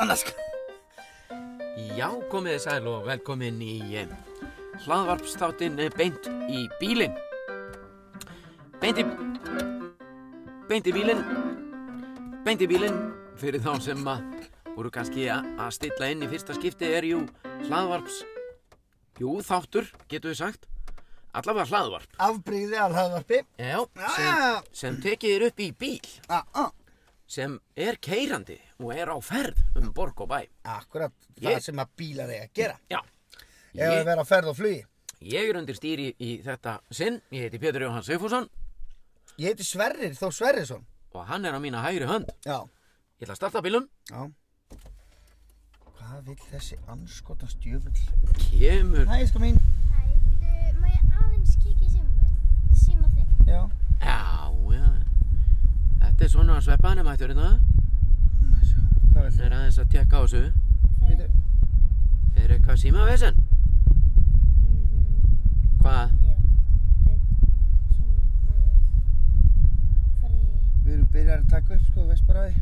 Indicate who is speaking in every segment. Speaker 1: annars
Speaker 2: Já, komið þið sæl og velkomin í eh, hlaðvarpsþáttinn eh, beint í bílinn. Beint í... Beint í bílinn. Beint í bílinn. Fyrir þá sem að voru kannski a- að stilla inn í fyrsta skipti er jú hlaðvarps... Jú, þáttur, getur við sagt. Allavega hlaðvarp.
Speaker 1: Afbríði að hlaðvarpi
Speaker 2: Já, sem,
Speaker 1: Já,
Speaker 2: sem tekið er upp í bíl
Speaker 1: já, já
Speaker 2: sem er keirandi og er á ferð um borg og bæ.
Speaker 1: Akkurat
Speaker 2: Ég-
Speaker 1: það sem að bílar eiga að gera
Speaker 2: Já.
Speaker 1: Ef að vera á ferð og flugi
Speaker 2: Ég er undir stýri í þetta sinn, ég heiti Pétur Jóhann Seifússon
Speaker 1: Ég heiti Sverrir Þór Sverrisson
Speaker 2: og hann er á mína hægri hönd.
Speaker 1: Já,
Speaker 2: Ég ætla að starta bílum,
Speaker 1: já Hvað vill þessi anskotans djöfull?
Speaker 2: kemur,
Speaker 1: Hæ, sko mín
Speaker 3: Hæ, veitu, má ég aðeins kíkja í síma minn? Síma þinn?
Speaker 1: Já
Speaker 2: já, já, þetta er svona að sveppa hann er mættur hérna,
Speaker 1: Má sjá, Hvað vill
Speaker 2: hann er aðeins að tekka á þessu,
Speaker 1: Bíddu.
Speaker 2: er eitthvað símavesen?
Speaker 3: Mhm,
Speaker 2: Hvað?
Speaker 3: já. Bíddu, Mhm. svona, eh, fara í-
Speaker 1: Við erum byrjar að taka upp, sko, þú veist bara að því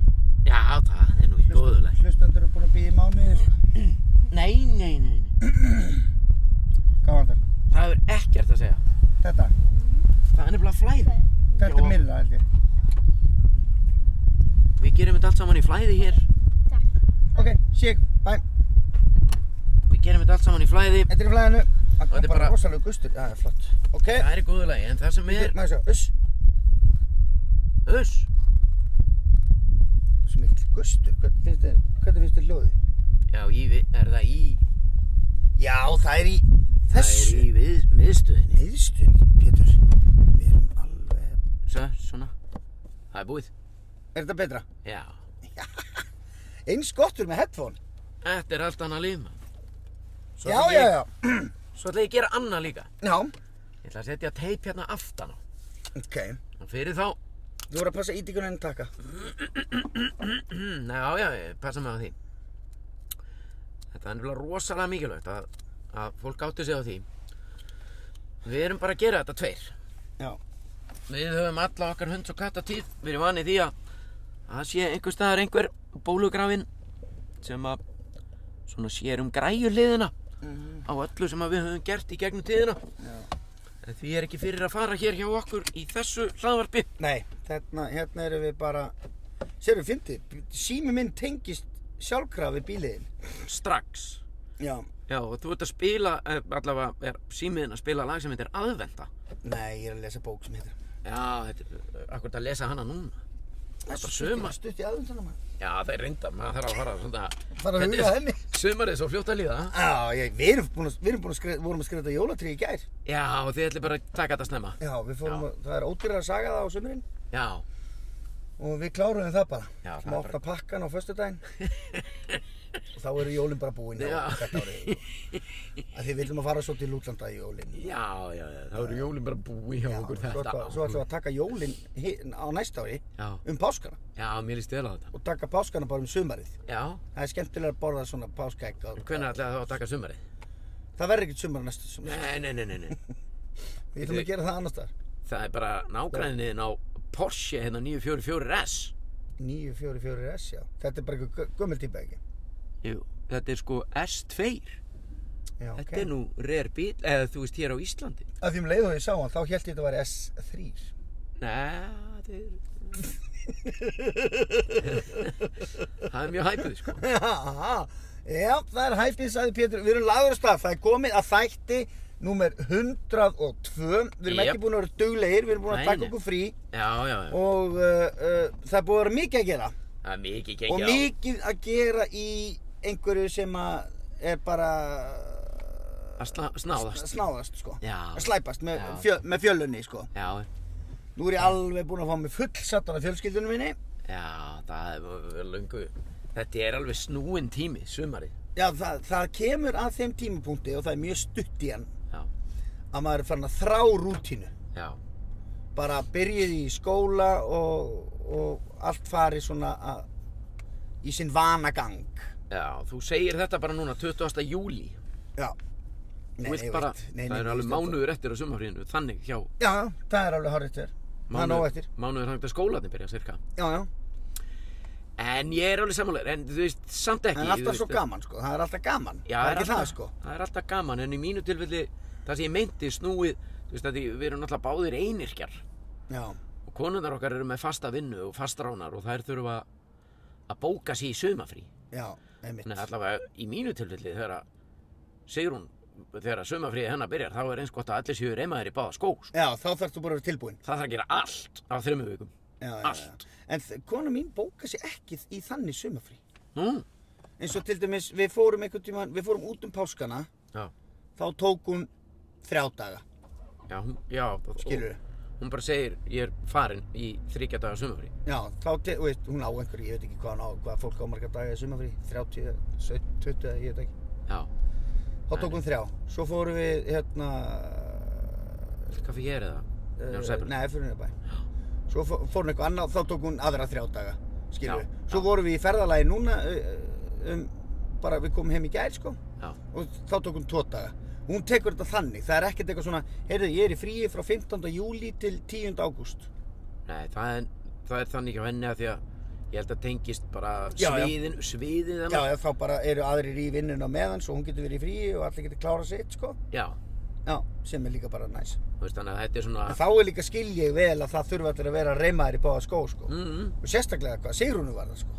Speaker 2: Já, það er nú í góðuleg.
Speaker 1: Hlustendur eru búin að býja í mánuði, sko
Speaker 2: Nei, nei, nei, nei,
Speaker 1: Hvað var þetta?
Speaker 2: það er ekkert að segja,
Speaker 1: Þetta,
Speaker 2: það er nefnilega flæði.
Speaker 1: þetta
Speaker 2: Jó.
Speaker 1: er myrra, held ég
Speaker 2: Við gerum þetta allt saman í flæði hér,
Speaker 3: Takk.
Speaker 1: Ok, sík, bæ,
Speaker 2: við gerum þetta allt saman í flæði,
Speaker 1: þetta er í flæðinu Það
Speaker 2: þetta
Speaker 1: er
Speaker 2: er
Speaker 1: bara
Speaker 2: bara-
Speaker 1: rosalega gustur, já, flott Ok,
Speaker 2: það er í góðuleg, en það sem er,
Speaker 1: maður sjá, uss
Speaker 2: uss,
Speaker 1: Svo mikill gustur, hvernig finnst þér, hvernig finnst þér hljóði?
Speaker 2: já, í, vi- er það í,
Speaker 1: Já, það er í
Speaker 2: það er
Speaker 1: þessu
Speaker 2: í við, miðstöðinni.
Speaker 1: Neiðstun, Pétur Við erum alveg
Speaker 2: Svo, svona Það er búið
Speaker 1: Er þetta betra?
Speaker 2: Já
Speaker 1: Eins gottur með headphone
Speaker 2: Þetta er allt annað líf maður. Svo
Speaker 1: Já,
Speaker 2: ætla
Speaker 1: já,
Speaker 2: ég-
Speaker 1: já
Speaker 2: Svo ætla ég að gera annað líka
Speaker 1: Já,
Speaker 2: Ég ætla að setja teip hérna aftan á
Speaker 1: ok
Speaker 2: Og fyrir þá
Speaker 1: Þú voru að passa ítíkunum en taka
Speaker 2: Já, já, ég passa mig á því Þetta er nefnilega rosalega mikilvægt að, að fólk átti sig á því Við erum bara að gera þetta tveir
Speaker 1: Já,
Speaker 2: Við höfum alla okkar hunds og katta tíð Við erum vanið því að að það sé einhver staðar einhver bólugrafin sem að svona sér um græjuliðina á öllu sem að við höfum gert í gegnum tíðina
Speaker 1: Mhm. Já.
Speaker 2: En því er ekki fyrir að fara hér hjá okkur í þessu hlaðvarpi
Speaker 1: nei, þarna, hérna erum við bara Sérðu, fyndið, sími minn tengist sjálfkrafi bíliðin
Speaker 2: strax
Speaker 1: Já
Speaker 2: Já, og þú ert að spila, eh, allavega er símiðin að spila lag sem heitir aðvenda
Speaker 1: Nei, ég er að lesa bók sem heitir
Speaker 2: Já, þetta er akkur að lesa hana núna
Speaker 1: Það
Speaker 2: bara
Speaker 1: er stutt
Speaker 2: sumar.
Speaker 1: í- stutt í aðvendana maður
Speaker 2: Já, það er reynda, maður þarf að fara svona
Speaker 1: Fara að
Speaker 2: Þetta
Speaker 1: huga
Speaker 2: er-
Speaker 1: henni.
Speaker 2: Sumarið er svo fljótt að líða
Speaker 1: Já, ég, við erum búin að, við erum búin að skreita, vorum að skreita jólatrí í gær
Speaker 2: Já, og þið ætli bara að taka þetta snemma
Speaker 1: Já, við fórum, að, það er ódýrar að saga það á sumurinn
Speaker 2: Já,
Speaker 1: og við kláruðum það bara.
Speaker 2: Já, það
Speaker 1: Má
Speaker 2: er
Speaker 1: opna pakkan á föstudaginn og þá eru jólinn bara búin
Speaker 2: Já.
Speaker 1: á þetta árið. sko. Af því við viljum að fara svo til útlanda í jólinn.
Speaker 2: Já, já, já, þá eru jólin bara búi hjá okkur
Speaker 1: svo
Speaker 2: þetta
Speaker 1: ætlum- svo ætlum við að taka jólinn hin- á næsta ári
Speaker 2: Já,
Speaker 1: um páskana
Speaker 2: já, mér líst vel á þetta
Speaker 1: og taka páskana bara um sumarið.
Speaker 2: Já,
Speaker 1: Það er skemmtilega að borða svona páskaegg. á-
Speaker 2: hvernig ætlaði þá að taka sumarið?
Speaker 1: Það verður ekkert sumar næsta sumar.
Speaker 2: Nei, nei, nei, nei, nei
Speaker 1: Við ætlum að gera það annars þar.
Speaker 2: Það er bara nágræniðin á Porsche hérna 944S
Speaker 1: 944S, já. Þetta er bara einhver gömul típa ekki.
Speaker 2: Jú, þetta er sko S2
Speaker 1: Já,
Speaker 2: Þetta er nú rare bíl, eða þú veist hér á Íslandi
Speaker 1: Af því um leið og ég sá hann, þá held ég þetta væri S3.
Speaker 2: Nei, þetta er Það er mjög hæpið sko
Speaker 1: Jaha. Já, það er hæpið, sagði Pétur. Við erum lagður á stað. Það er komið að þætti númer 102. Við erum
Speaker 2: Jep.
Speaker 1: ekki búin að vera duglegir, við erum búin að
Speaker 2: Nei,
Speaker 1: taka
Speaker 2: nei.
Speaker 1: okkur frí
Speaker 2: Já, já, já,
Speaker 1: og uh, uh, það er búin að vera mikið að gera.
Speaker 2: það er mikið
Speaker 1: og
Speaker 2: gengið á
Speaker 1: mikið að gera í einhverju sem að er bara
Speaker 2: Að sla- snáðast
Speaker 1: snáðast, sko.
Speaker 2: Já.
Speaker 1: Að slæpast með,
Speaker 2: Já.
Speaker 1: fjö, með fjölunni, sko.
Speaker 2: Já,
Speaker 1: Nú er ég alveg búin að fá mig full sattan af fjölskyldunum minni.
Speaker 2: Já, það er verið lungu. Þetta er alveg snúinn tími, sumarið.
Speaker 1: Já, það, það kemur að þeim tímapunkti og það er mjög stutt í hann
Speaker 2: Já,
Speaker 1: að maður er farin að þrá rútínu.
Speaker 2: já,
Speaker 1: bara byrjið í skóla og, og allt fari svona að, í sinn vanagang.
Speaker 2: já. Þú segir þetta bara núna 20. júli.
Speaker 1: Já.
Speaker 2: Þú vilt bara, það er alveg mánuður eftir á sumarfríðinu, þannig hjá
Speaker 1: Já, já, það er alveg horrið þér. Það er nóg eftir.
Speaker 2: mánuður þangt að skólanir byrja cirka.
Speaker 1: Já, já.
Speaker 2: En ég er alveg sammálaður, en þú veist, samt ekki.
Speaker 1: En alltaf
Speaker 2: þú
Speaker 1: svo
Speaker 2: veist.
Speaker 1: gaman sko, það er alltaf gaman.
Speaker 2: Já,
Speaker 1: það er ekki
Speaker 2: alltaf,
Speaker 1: það sko.
Speaker 2: Það er alltaf gaman, en í mínu tilfelli, það sem ég meinti snúið, þú veist, að því við erum alltaf báðir einirkjar.
Speaker 1: Já,
Speaker 2: Og konundar okkar eru með fasta vinnu og fastránar og þær þurfa að bóka sér í sumafrí.
Speaker 1: já, einmitt.
Speaker 2: Þannig að allavega í mínu tilfelli þegar að Sigrún, þegar að sumafríði hennar byrjar, þá er eins gott að allir séu reymaðir í báða skó. Sko.
Speaker 1: Já, þá þarfst þú bara að vera tilbúin.
Speaker 2: Það þarf að gera allt á þremmu vikum.
Speaker 1: Já, já, Já.
Speaker 2: Allt.
Speaker 1: En þ- kona mín bóka sér ekki í þannig sumafrí.
Speaker 2: Nú?
Speaker 1: Eins og til dæmis, við fórum einhvern tímann, við fórum út um páskana,
Speaker 2: Já,
Speaker 1: þá tók hún þrjá daga,
Speaker 2: já, hún, já. og-
Speaker 1: skilur
Speaker 2: Hún bara segir, ég er farin í þryggja daga sumafrí.
Speaker 1: Já, þá, te- þú veist, hún á einhverju, ég veit ekki hvað hún á, hvað fólk á marga daga í sumafrí, 30, eða 17, 20, eða ég veit ekki.
Speaker 2: Já,
Speaker 1: Þá tók hún þrjá. Svo fórum við, hérna,
Speaker 2: hvað fyrir ég er eða? Já,
Speaker 1: eh,
Speaker 2: sæbrú.
Speaker 1: nei, fyrir henni bæ. Svo fó- fór hún eitthvað annað, þá tók hún aðra þrjá daga, skilur
Speaker 2: Já,
Speaker 1: Svo
Speaker 2: já.
Speaker 1: vorum við í ferðalagi núna, eh, eh, um, bara við komum heim í gær, sko.
Speaker 2: Já,
Speaker 1: og þá tók hún tvo daga hún tekur þetta þannig, það er ekkert eitthvað svona heyrðu, ég er í fríi frá 15. júli til 10. ágúst
Speaker 2: nei, það er, það er þannig hjá henni að því að ég held að tengist bara
Speaker 1: Já, já.
Speaker 2: sviðin, sviðið
Speaker 1: já,
Speaker 2: hennar.
Speaker 1: já, þá bara eru aðrir í vinnuna á meðan svo hún getur verið í fríi og allir getur klárað sitt sko.
Speaker 2: Já,
Speaker 1: já, sem er líka bara næs
Speaker 2: þú veist þannig að þetta er svona...
Speaker 1: en þá er líka skil ég vel að það þurfa allir að vera reymaðir í báða skó sko.
Speaker 2: Mm -hmm.
Speaker 1: og sérstaklega hvað, Sigrúnu var það sko.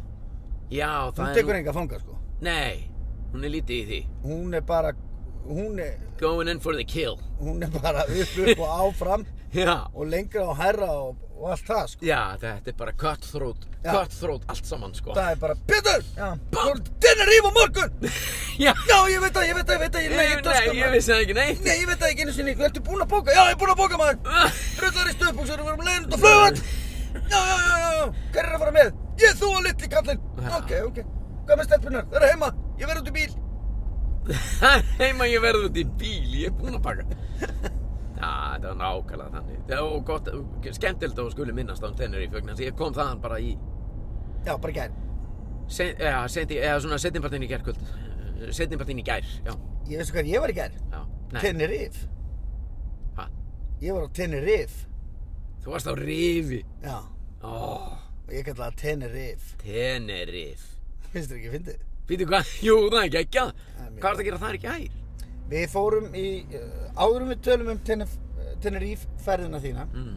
Speaker 2: Já, það
Speaker 1: hún
Speaker 2: er...
Speaker 1: tekur enga fanga sko.
Speaker 2: Nei, hún er lítið í því.
Speaker 1: hún er bara hún er,
Speaker 2: Going in for the kill.
Speaker 1: hún er bara upp upp og áfram
Speaker 2: Já,
Speaker 1: og lengra og herra og, og allt það sko.
Speaker 2: já, þetta er bara cutthroat,
Speaker 1: Já.
Speaker 2: cutthroat allt saman, sko.
Speaker 1: það er bara, Pétur, dinner yfir á morgun
Speaker 2: Já,
Speaker 1: Já, ég veit það, ég veit það, ég veit það, ég
Speaker 2: nei,
Speaker 1: leiði töskuna.
Speaker 2: ég vissi það ekki, nei.
Speaker 1: Nei, ég veit það ekki einu sinni, ertu búinn að bóka? Já, ég er búinn að bóka maður. Drullar í stöðbúksar og við erum leiðin út á flugvall. Já, já, já, já, já, hver er að fara með? Ég, þú og litli kallinn.
Speaker 2: Já.
Speaker 1: Ok, ok, hvað með stelpunar? Það er heima, ég verð út í bíl.
Speaker 2: Heima ég verði út í bíl, ég er búinn að pakka. Já, þetta var nákvæmlega þannig. Það var gott, skemmtilegt að þú skulle minnast á um tennur í fjögnans. Ég kom þaðan bara í,
Speaker 1: Já, bara gær.
Speaker 2: sen, eða, sendi, eða svona setjumpartin í gærkvöld. Setjumpartin í gær, já.
Speaker 1: Ég veistu hvað ég var í gær?
Speaker 2: já. Nei,
Speaker 1: Tenerife.
Speaker 2: ha,
Speaker 1: Ég var á Tenerife.
Speaker 2: þú varst á rifi.
Speaker 1: Já,
Speaker 2: Ó,
Speaker 1: og ég kalla það Tenerife.
Speaker 2: Tenerif.
Speaker 1: Finnst þér ekki fyndið?
Speaker 2: Býtu hvað, jú, það er geggjað.
Speaker 1: Það er mjög
Speaker 2: Hvað er það að gera þar í gær?
Speaker 1: Við fórum í, uh, áðurum við tölum um Tenef, Tenerife ferðina þína,
Speaker 2: Mm.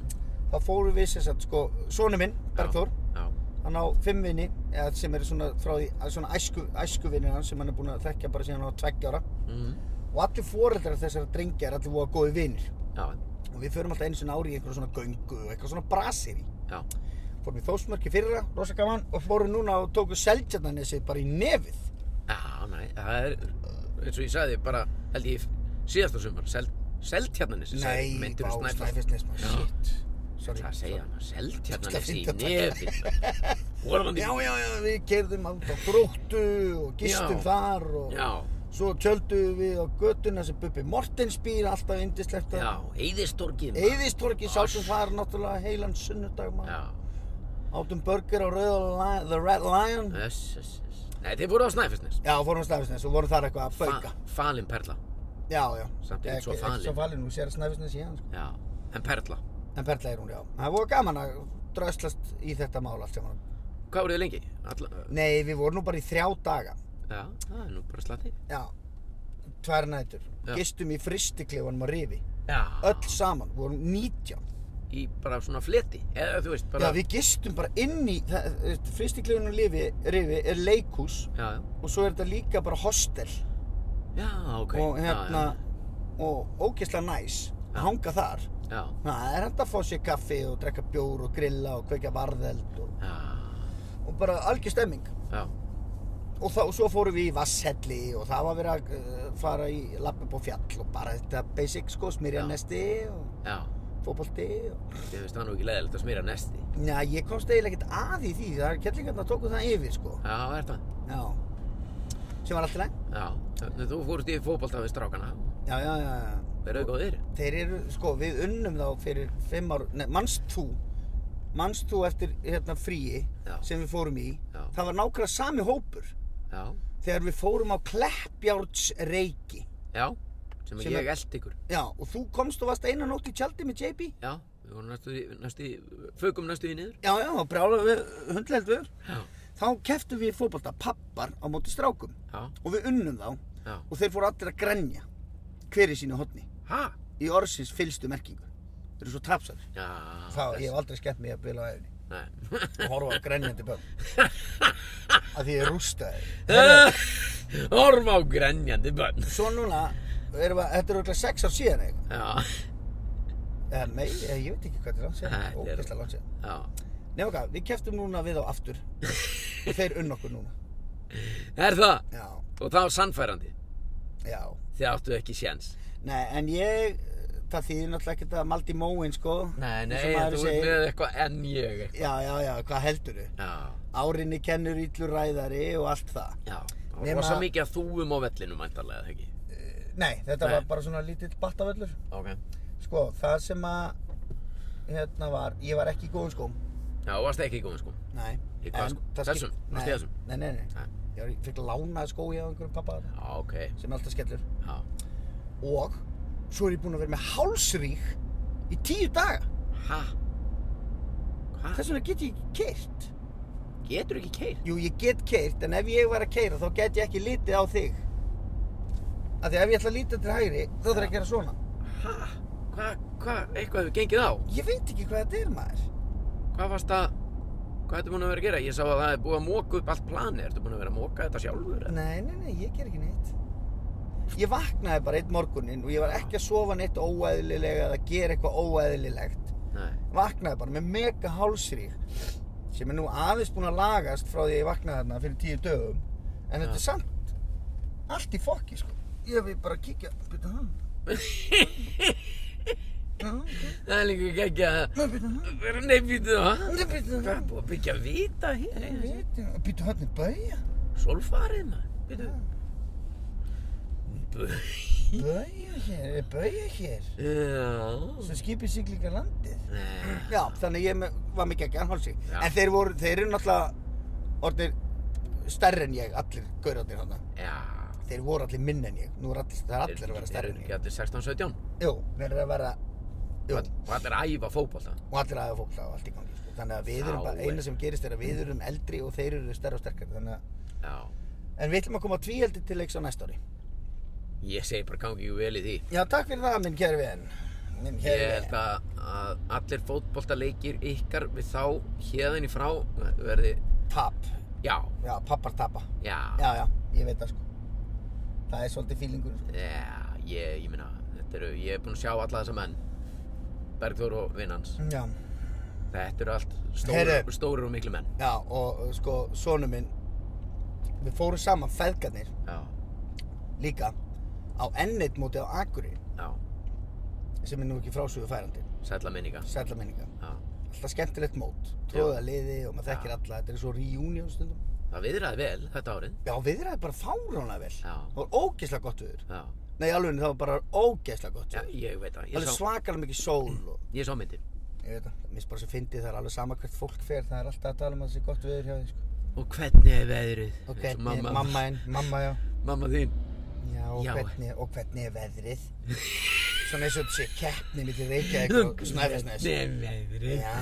Speaker 1: þá fórum við sem sagt, sko, sonu minn, Bergþór,
Speaker 2: Já,
Speaker 1: hann á fimm vinni eða sem eru svona frá því að svona æsku, æsku hans sem hann er búinn að þekkja bara síðan hann var tveggja ára
Speaker 2: já. Mm.
Speaker 1: og allir foreldrar þessara drengja er allir voða góði vinir
Speaker 2: já,
Speaker 1: og við förum alltaf einu sinni ári í einhverja svona göngu og eitthvað svona brasir í
Speaker 2: já.
Speaker 1: fórum í Þósmörki fyrra, rosa gaman og fórum núna og tóku Seltjarnanesi bara í nefið
Speaker 2: Já, nei, það er, eins og ég sagði, bara held ég síðasta sumar, seld, seldjarnanissi,
Speaker 1: Nei,
Speaker 2: myndir
Speaker 1: bá,
Speaker 2: og snæfell.
Speaker 1: snæfisnes maður,
Speaker 2: Já.
Speaker 1: shit Sorry.
Speaker 2: Það segja hann, seldjarnanissi í
Speaker 1: Það er
Speaker 2: nefi. Vorðan
Speaker 1: Já, já, já, við kerðum át á gróttu og gistum
Speaker 2: Já.
Speaker 1: þar og
Speaker 2: Já,
Speaker 1: svo tjöldum við á göttuna sem Bubbi Mortens býr alltaf indislegt að
Speaker 2: já, eyðistorgið. maður.
Speaker 1: Eyðistorki sátum þar náttúrulega heilan sunnudag maður.
Speaker 2: Já,
Speaker 1: Átum burger á Rauða Lion, The Red Lion.
Speaker 2: öss, öss, öss. Nei, þið voru á snæfellsnes.
Speaker 1: Já, fórum á Snæfisnes og vorum þar eitthvað að bauka.
Speaker 2: falin perla.
Speaker 1: Já, já.
Speaker 2: Samt ekkert svo
Speaker 1: Ekki- Ekki svo
Speaker 2: falin.
Speaker 1: falin, hún sér að Snæfisnes í hann. Sko.
Speaker 2: Já, en perla.
Speaker 1: En perla er hún, já. Það voru gaman að dröslast í þetta mál allt saman.
Speaker 2: Hvað voruð þið lengi? Alla,
Speaker 1: Nei, við vorum nú bara í þrjá daga.
Speaker 2: já, það er nú bara slatið.
Speaker 1: Já. Tvær nætur.
Speaker 2: Já.
Speaker 1: Gistum í fristikleifanum á Rifi.
Speaker 2: Já.
Speaker 1: Öll saman. Vorum 19.
Speaker 2: Í bara svona fleti, eða þú veist,
Speaker 1: Já,
Speaker 2: bara.
Speaker 1: við gistum bara inn í... Fristikleifanum á Rifi, Rifi er leikhús
Speaker 2: Já, já,
Speaker 1: og svo er þetta líka bara hostel.
Speaker 2: já, ok.
Speaker 1: og
Speaker 2: Já,
Speaker 1: hérna og ógeðslega næs að hanga þar
Speaker 2: Já, já.
Speaker 1: það er hægt að fá sér kaffi og drekka bjór og grilla og kveikja varðeld og,
Speaker 2: já.
Speaker 1: og bara algjör stemming
Speaker 2: Já,
Speaker 1: og, þá, og svo fórum við í Vasshelli og það var verið að uh, fara í lapp upp á fjall og bara þetta basic sko smyrjanesti og
Speaker 2: já,
Speaker 1: fótbolti og
Speaker 2: ég finnst það nú ekki leiðilegt að smýra nesti.
Speaker 1: Já, ég komst eiginlega ekkert að í því það er kellingarnar tóku það yfir sko
Speaker 2: Já, er það?
Speaker 1: já sem var alltaf læg
Speaker 2: Já, Þannig þú fórst í fótbolta við strákana,
Speaker 1: já, já, já, já
Speaker 2: verðu góðir?
Speaker 1: Þeir eru, sko, við unnum þá fyrir fimm ár, nei, manst þú, manst þú eftir hérna fríi
Speaker 2: Já.
Speaker 1: sem við fórum í,
Speaker 2: Já.
Speaker 1: það var nákvæmlega sami hópur
Speaker 2: Já,
Speaker 1: þegar við fórum á Kleppjárnsreiki.
Speaker 2: já, sem,
Speaker 1: Sem
Speaker 2: ég
Speaker 1: er-
Speaker 2: eld ykkur.
Speaker 1: Já, og þú komst og varst eina nótt í tjaldi með JB?
Speaker 2: Já, við vorum næstu, í- næstu, í- fökum næstu í niður.
Speaker 1: Já, já, og brjálaði við, hundleld við.
Speaker 2: Já,
Speaker 1: þá keftum við í fótbolta pappar á móti strákum
Speaker 2: Já,
Speaker 1: og við unnum þá
Speaker 2: já.
Speaker 1: og þeir fóru allir að grenja hver í sínu hotni
Speaker 2: Ha?
Speaker 1: í orðsins fylstu merkingu þeir eru svo trapsar
Speaker 2: Já.
Speaker 1: það, ég hef aldrei skemmt mig að bila á efni
Speaker 2: Nei.
Speaker 1: og horfa á grenjandi börn að því ég rústa
Speaker 2: Horf á grenjandi bönn.
Speaker 1: svo núna erum við, þetta eru auðvitað sex ár síðan eitthvað
Speaker 2: Já,
Speaker 1: eða mei, eða ég veit ekki hvað þetta er langt
Speaker 2: Þetta
Speaker 1: síðan
Speaker 2: er-
Speaker 1: ógeðslega langt síðan
Speaker 2: já.
Speaker 1: nefnum hvað, við keftum núna við á aftur og þeir unn okkur núna
Speaker 2: Er það?
Speaker 1: já,
Speaker 2: Og það var sannfærandi.
Speaker 1: já,
Speaker 2: Þið áttu ekki séns.
Speaker 1: nei, en ég það þýðir náttúrulega ekkert að maldi móin sko
Speaker 2: Nei, nei,
Speaker 1: eins og maður
Speaker 2: þú er
Speaker 1: segir.
Speaker 2: með eitthvað enn ég.
Speaker 1: já, já, já, hvað heldur þau
Speaker 2: Já,
Speaker 1: árinni kennur íllur ræðari og allt það
Speaker 2: já. Það
Speaker 1: Nema-
Speaker 2: var svo mikið að þúum á vellinu mæntarlega, eða ekki?
Speaker 1: Eh, nei, þetta
Speaker 2: Nei.
Speaker 1: var bara svona lítill battavöllur
Speaker 2: Ok.
Speaker 1: sko, það sem að hérna var, ég var ekki í góðum skóm
Speaker 2: Já, þú varst ekki í góðum sko.
Speaker 1: nei,
Speaker 2: Í hvaða
Speaker 1: en
Speaker 2: skóm?
Speaker 1: það skip-
Speaker 2: Þessum?
Speaker 1: nei,
Speaker 2: Varstu í þessum?
Speaker 1: nei, nei, nei,
Speaker 2: Nei.
Speaker 1: ég var- fekk lánað skó hjá einhverjum pappa þarna,
Speaker 2: Já, ok.
Speaker 1: sem er alltaf skellur
Speaker 2: Já,
Speaker 1: og svo er ég búinn að vera með hálsrík í tíu daga
Speaker 2: Hæ? Hvað?
Speaker 1: þess vegna get ég ekki keirt
Speaker 2: Getur ekki keir?
Speaker 1: jú ég get keirt en ef ég var að keira þá get ég ekki litið á þig af því ef ég ætla að líta til hægri þá þarf ég að gera svona
Speaker 2: Hæ? Hvað, hvað, eitthvað hefur gengið á?
Speaker 1: ég veit ekki hvað þetta er maður
Speaker 2: Hvað varst að, hvað ertu búin að vera að gera? Ég sá að það er búið að móka upp allt planið. Ertu búin að vera að móka þetta sjálfur? eða?
Speaker 1: nei nei nei ég ger ekki neitt ég vaknaði bara einn morguninn og ég var ekki að sofa neitt óæðlilega eða gera eitthvað óæðlilegt
Speaker 2: Nei.
Speaker 1: vaknaði bara með mega hálsrík sem er nú aðeins búin að lagast frá því að ég vaknaði þarna fyrir tíu dögum en þetta
Speaker 2: Já.
Speaker 1: er samt allt í fokki sko ég hef bara að kíkja byrja hann Já, ok.
Speaker 2: Það er líka ekki að
Speaker 1: Nei, byrja hann
Speaker 2: vera nefnvítið á hann.
Speaker 1: Nei, byrja
Speaker 2: Hvað er
Speaker 1: hann
Speaker 2: búið að byggja vita hér?
Speaker 1: byrja hann er bæja
Speaker 2: Solfarið maður. Býtu. Bu-
Speaker 1: bæja hér, er bæja hér
Speaker 2: Já.
Speaker 1: sem skipið siglinga landið
Speaker 2: Nei.
Speaker 1: já, þannig ég me- var mikið ekki að hálsrík
Speaker 2: Já.
Speaker 1: en þeir voru, þeir eru náttúrulega orðnir stærri en ég allir gaurarnir hann
Speaker 2: Já.
Speaker 1: þeir voru allir minn en ég nú er allir, það er allir að vera stærri
Speaker 2: Eru
Speaker 1: en
Speaker 2: ekki
Speaker 1: ég
Speaker 2: allir 16, 17?
Speaker 1: jú, þeir eru að vera jú,
Speaker 2: Og allir að æfa fótbolta.
Speaker 1: og allir aðeins fólkla og allt í gangi sko. þannig að við erum
Speaker 2: Já,
Speaker 1: bara,
Speaker 2: en-
Speaker 1: eina sem gerist er að við erum eldri og þeir eru stærri og sterkari þannig að,
Speaker 2: Já.
Speaker 1: en við ætlum að koma tvíeldi til leiks á næsta ári
Speaker 2: Ég segi bara gangi ekki vel í því.
Speaker 1: já, takk fyrir það minn kæri vin minn
Speaker 2: Ég
Speaker 1: kæri
Speaker 2: held
Speaker 1: vin
Speaker 2: að, að allir fótboltaleikir ykkar við þá hérðan í frá verði,
Speaker 1: tap,
Speaker 2: já,
Speaker 1: já, pappar tapa
Speaker 2: já,
Speaker 1: já, já, ég veit það sko það er svolítið fílingur sko.
Speaker 2: já ég, ég meina, þetta eru, ég er búinn að sjá alla þessa menn, Bergþór og vinnans,
Speaker 1: sko. já,
Speaker 2: þetta eru allt
Speaker 1: Heyrðu.
Speaker 2: stórir stóru og miklu menn,
Speaker 1: já, og uh, sko, sonu minn við fórum saman feðgarnir
Speaker 2: já,
Speaker 1: líka á ennit móti á Akuri
Speaker 2: já,
Speaker 1: sem er nú ekki frásögu færandi
Speaker 2: sætla minninga,
Speaker 1: sætla minninga
Speaker 2: já,
Speaker 1: alltaf skemmtilegt mót, tróða liði og maður þekkir
Speaker 2: Já.
Speaker 1: alla, þetta er svo reunion stundum
Speaker 2: það viðraði vel þetta árið,
Speaker 1: Já, viðræði bara fáránlega vel
Speaker 2: Já.
Speaker 1: Það var ógeðslega gott viður
Speaker 2: já,
Speaker 1: Nei, alveg, það var bara ógeðslega gott
Speaker 2: já,
Speaker 1: viður
Speaker 2: ég veit það,
Speaker 1: Það
Speaker 2: ég
Speaker 1: er
Speaker 2: sá,
Speaker 1: svakalega mikið sól og
Speaker 2: ég sá myndin,
Speaker 1: Ég veit það, mér finnst bara svo fyndið, það er alveg sama hvert fólk fer Það er alltaf að tala um að það sé gott viður hjá því, sko
Speaker 2: og hvernig er veðrið,
Speaker 1: Og
Speaker 2: Eins og
Speaker 1: hvernig, mamma, mamma en, mamma, já
Speaker 2: mamma þín,
Speaker 1: Já, og,
Speaker 2: Já.
Speaker 1: Hvernig, og hvernig er veðrið Svona eins og þetta sé keppni milli Reykjavík og Snæfellsnes
Speaker 2: Hvernig er veðrið,
Speaker 1: Já.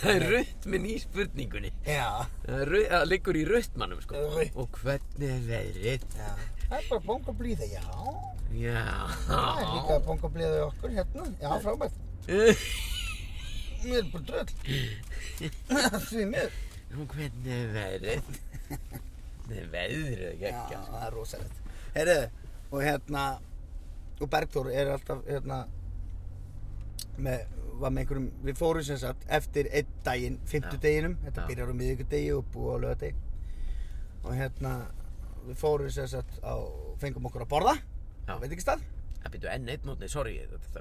Speaker 2: það er rutt minn í spurningunni,
Speaker 1: Já,
Speaker 2: Það er rau- það liggur í rautmannum sko
Speaker 1: Rautt.
Speaker 2: Og hvernig er veðrið?
Speaker 1: já Það er bara bóng og blíða, já
Speaker 2: Já
Speaker 1: Það er líka bóng og blíða í okkur hérna Já, frábært Mér er bara dröll Því mér
Speaker 2: Og hvernig er veðrið? Hvernig er veðrið sko? ekki ekki
Speaker 1: Já, það er rosalegt Herðu, og hérna og Bergþór er alltaf hérna með, var með einhverjum við fórum sem sagt eftir einn daginn fimmtudeginum, þetta
Speaker 2: Já.
Speaker 1: byrjar á miðvikudegi og búið á lögadegi og hérna við fórum sem sagt á, fengum okkur að borða
Speaker 2: Já.
Speaker 1: veit ekki stað?
Speaker 2: Það byrju enn einn mótni, sorry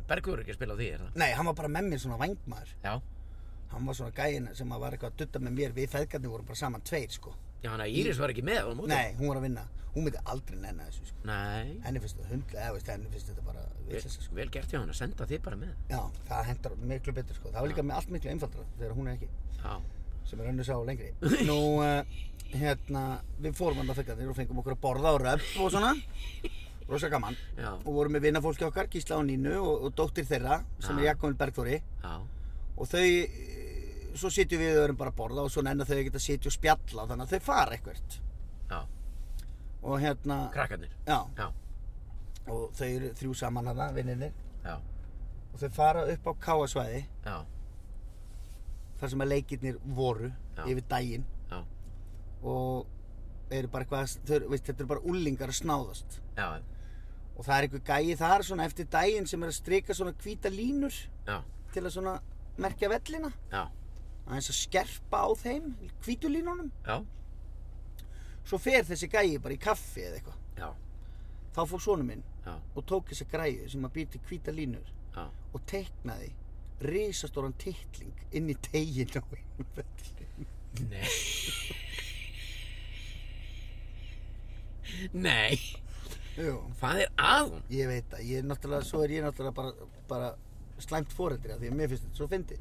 Speaker 2: Bergur er ekki að spila á því, er það?
Speaker 1: Nei, hann var bara með mér svona vængmaður
Speaker 2: Já
Speaker 1: hann var svona gæinn sem að var eitthvað að dutta með mér við feðgarnir vorum bara saman tveir sko
Speaker 2: Já, hann að Íris var ekki með á móti
Speaker 1: Nei, hún var að vinna, hún myndi aldrei nenni að þessu sko
Speaker 2: Nei
Speaker 1: henni finnst þetta hundlega, eða veist, henni finnst þetta bara
Speaker 2: Vel,
Speaker 1: vitleysa, sko.
Speaker 2: vel gert hjá hann að senda þig bara með
Speaker 1: Já, það hendar miklu betur sko. Það var líka með allt miklu einfaldra þegar hún er ekki,
Speaker 2: Já
Speaker 1: sem er önnur sá lengri. Nú, uh, hérna, við fórum hann að þegar og fengum okkur að borða og röpp og svona. Rosa gaman.
Speaker 2: Já
Speaker 1: Og vorum með vinnafólki okkar, Gísla og Nínu og, og dóttir þeirra, sem
Speaker 2: Já.
Speaker 1: er Jakobin Bergþóri.
Speaker 2: Já
Speaker 1: Og þau eh, svo sitjum við og erum bara að borða og svo nennar þau ekki að sitja og spjalla þannig að þau fara eitthvert
Speaker 2: Já.
Speaker 1: og hérna
Speaker 2: Krakkarnir.
Speaker 1: já.
Speaker 2: Já.
Speaker 1: og þau eru þrjú saman hana, vinninir
Speaker 2: Já.
Speaker 1: og þau fara upp á káasvæði
Speaker 2: Já.
Speaker 1: þar sem að leikirnir voru
Speaker 2: Já.
Speaker 1: yfir daginn
Speaker 2: Já.
Speaker 1: og eru bara eitthvað, þau, eru- veist, þetta eru bara ullingar að snáðast
Speaker 2: Já.
Speaker 1: og það er einhver gæi þar svona eftir daginn sem er að strika svona hvíta línur
Speaker 2: Já.
Speaker 1: til að svona merkja vellina
Speaker 2: Já.
Speaker 1: aðeins að skerpa á þeim hvítu línunum
Speaker 2: Já.
Speaker 1: svo fer þessi gæi bara í kaffi eða eitthvað
Speaker 2: Já.
Speaker 1: þá fór sonu minn
Speaker 2: Já.
Speaker 1: og tók þessa græju sem að býr til hvíta línur
Speaker 2: Já.
Speaker 1: og teiknaði risastóran titling inn í tegin á einum velli
Speaker 2: Nei. Nei.
Speaker 1: Jú,
Speaker 2: Hvað er að hún?
Speaker 1: ég veit það, ég er náttúrulega, svo er ég náttúrulega bara, bara slæmt foreldri af því að mér finnst þetta svo fyndi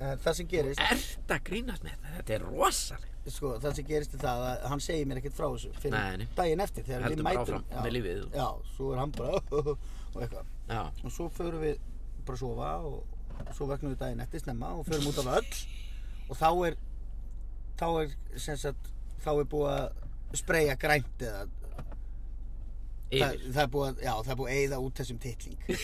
Speaker 1: en það sem gerist,
Speaker 2: Ert að grínast með þetta? Þetta er rosalega.
Speaker 1: sko, það sem gerist er það að hann segir mér ekkert frá þessu
Speaker 2: Nei,
Speaker 1: fyrir
Speaker 2: nei.
Speaker 1: daginn eftir þegar
Speaker 2: Heldur
Speaker 1: við
Speaker 2: bara
Speaker 1: mætum
Speaker 2: áfram með lífið og-
Speaker 1: já, svo er hann bara og eitthvað
Speaker 2: Já.
Speaker 1: og svo förum við bara að sofa og og svo veknum við daginn eftir snemma og förum út af öll og þá er þá er sem sagt þá er búið að spreyja grænt eða það,
Speaker 2: Yfir.
Speaker 1: það er búið að já það er búið að eyða út þessum titling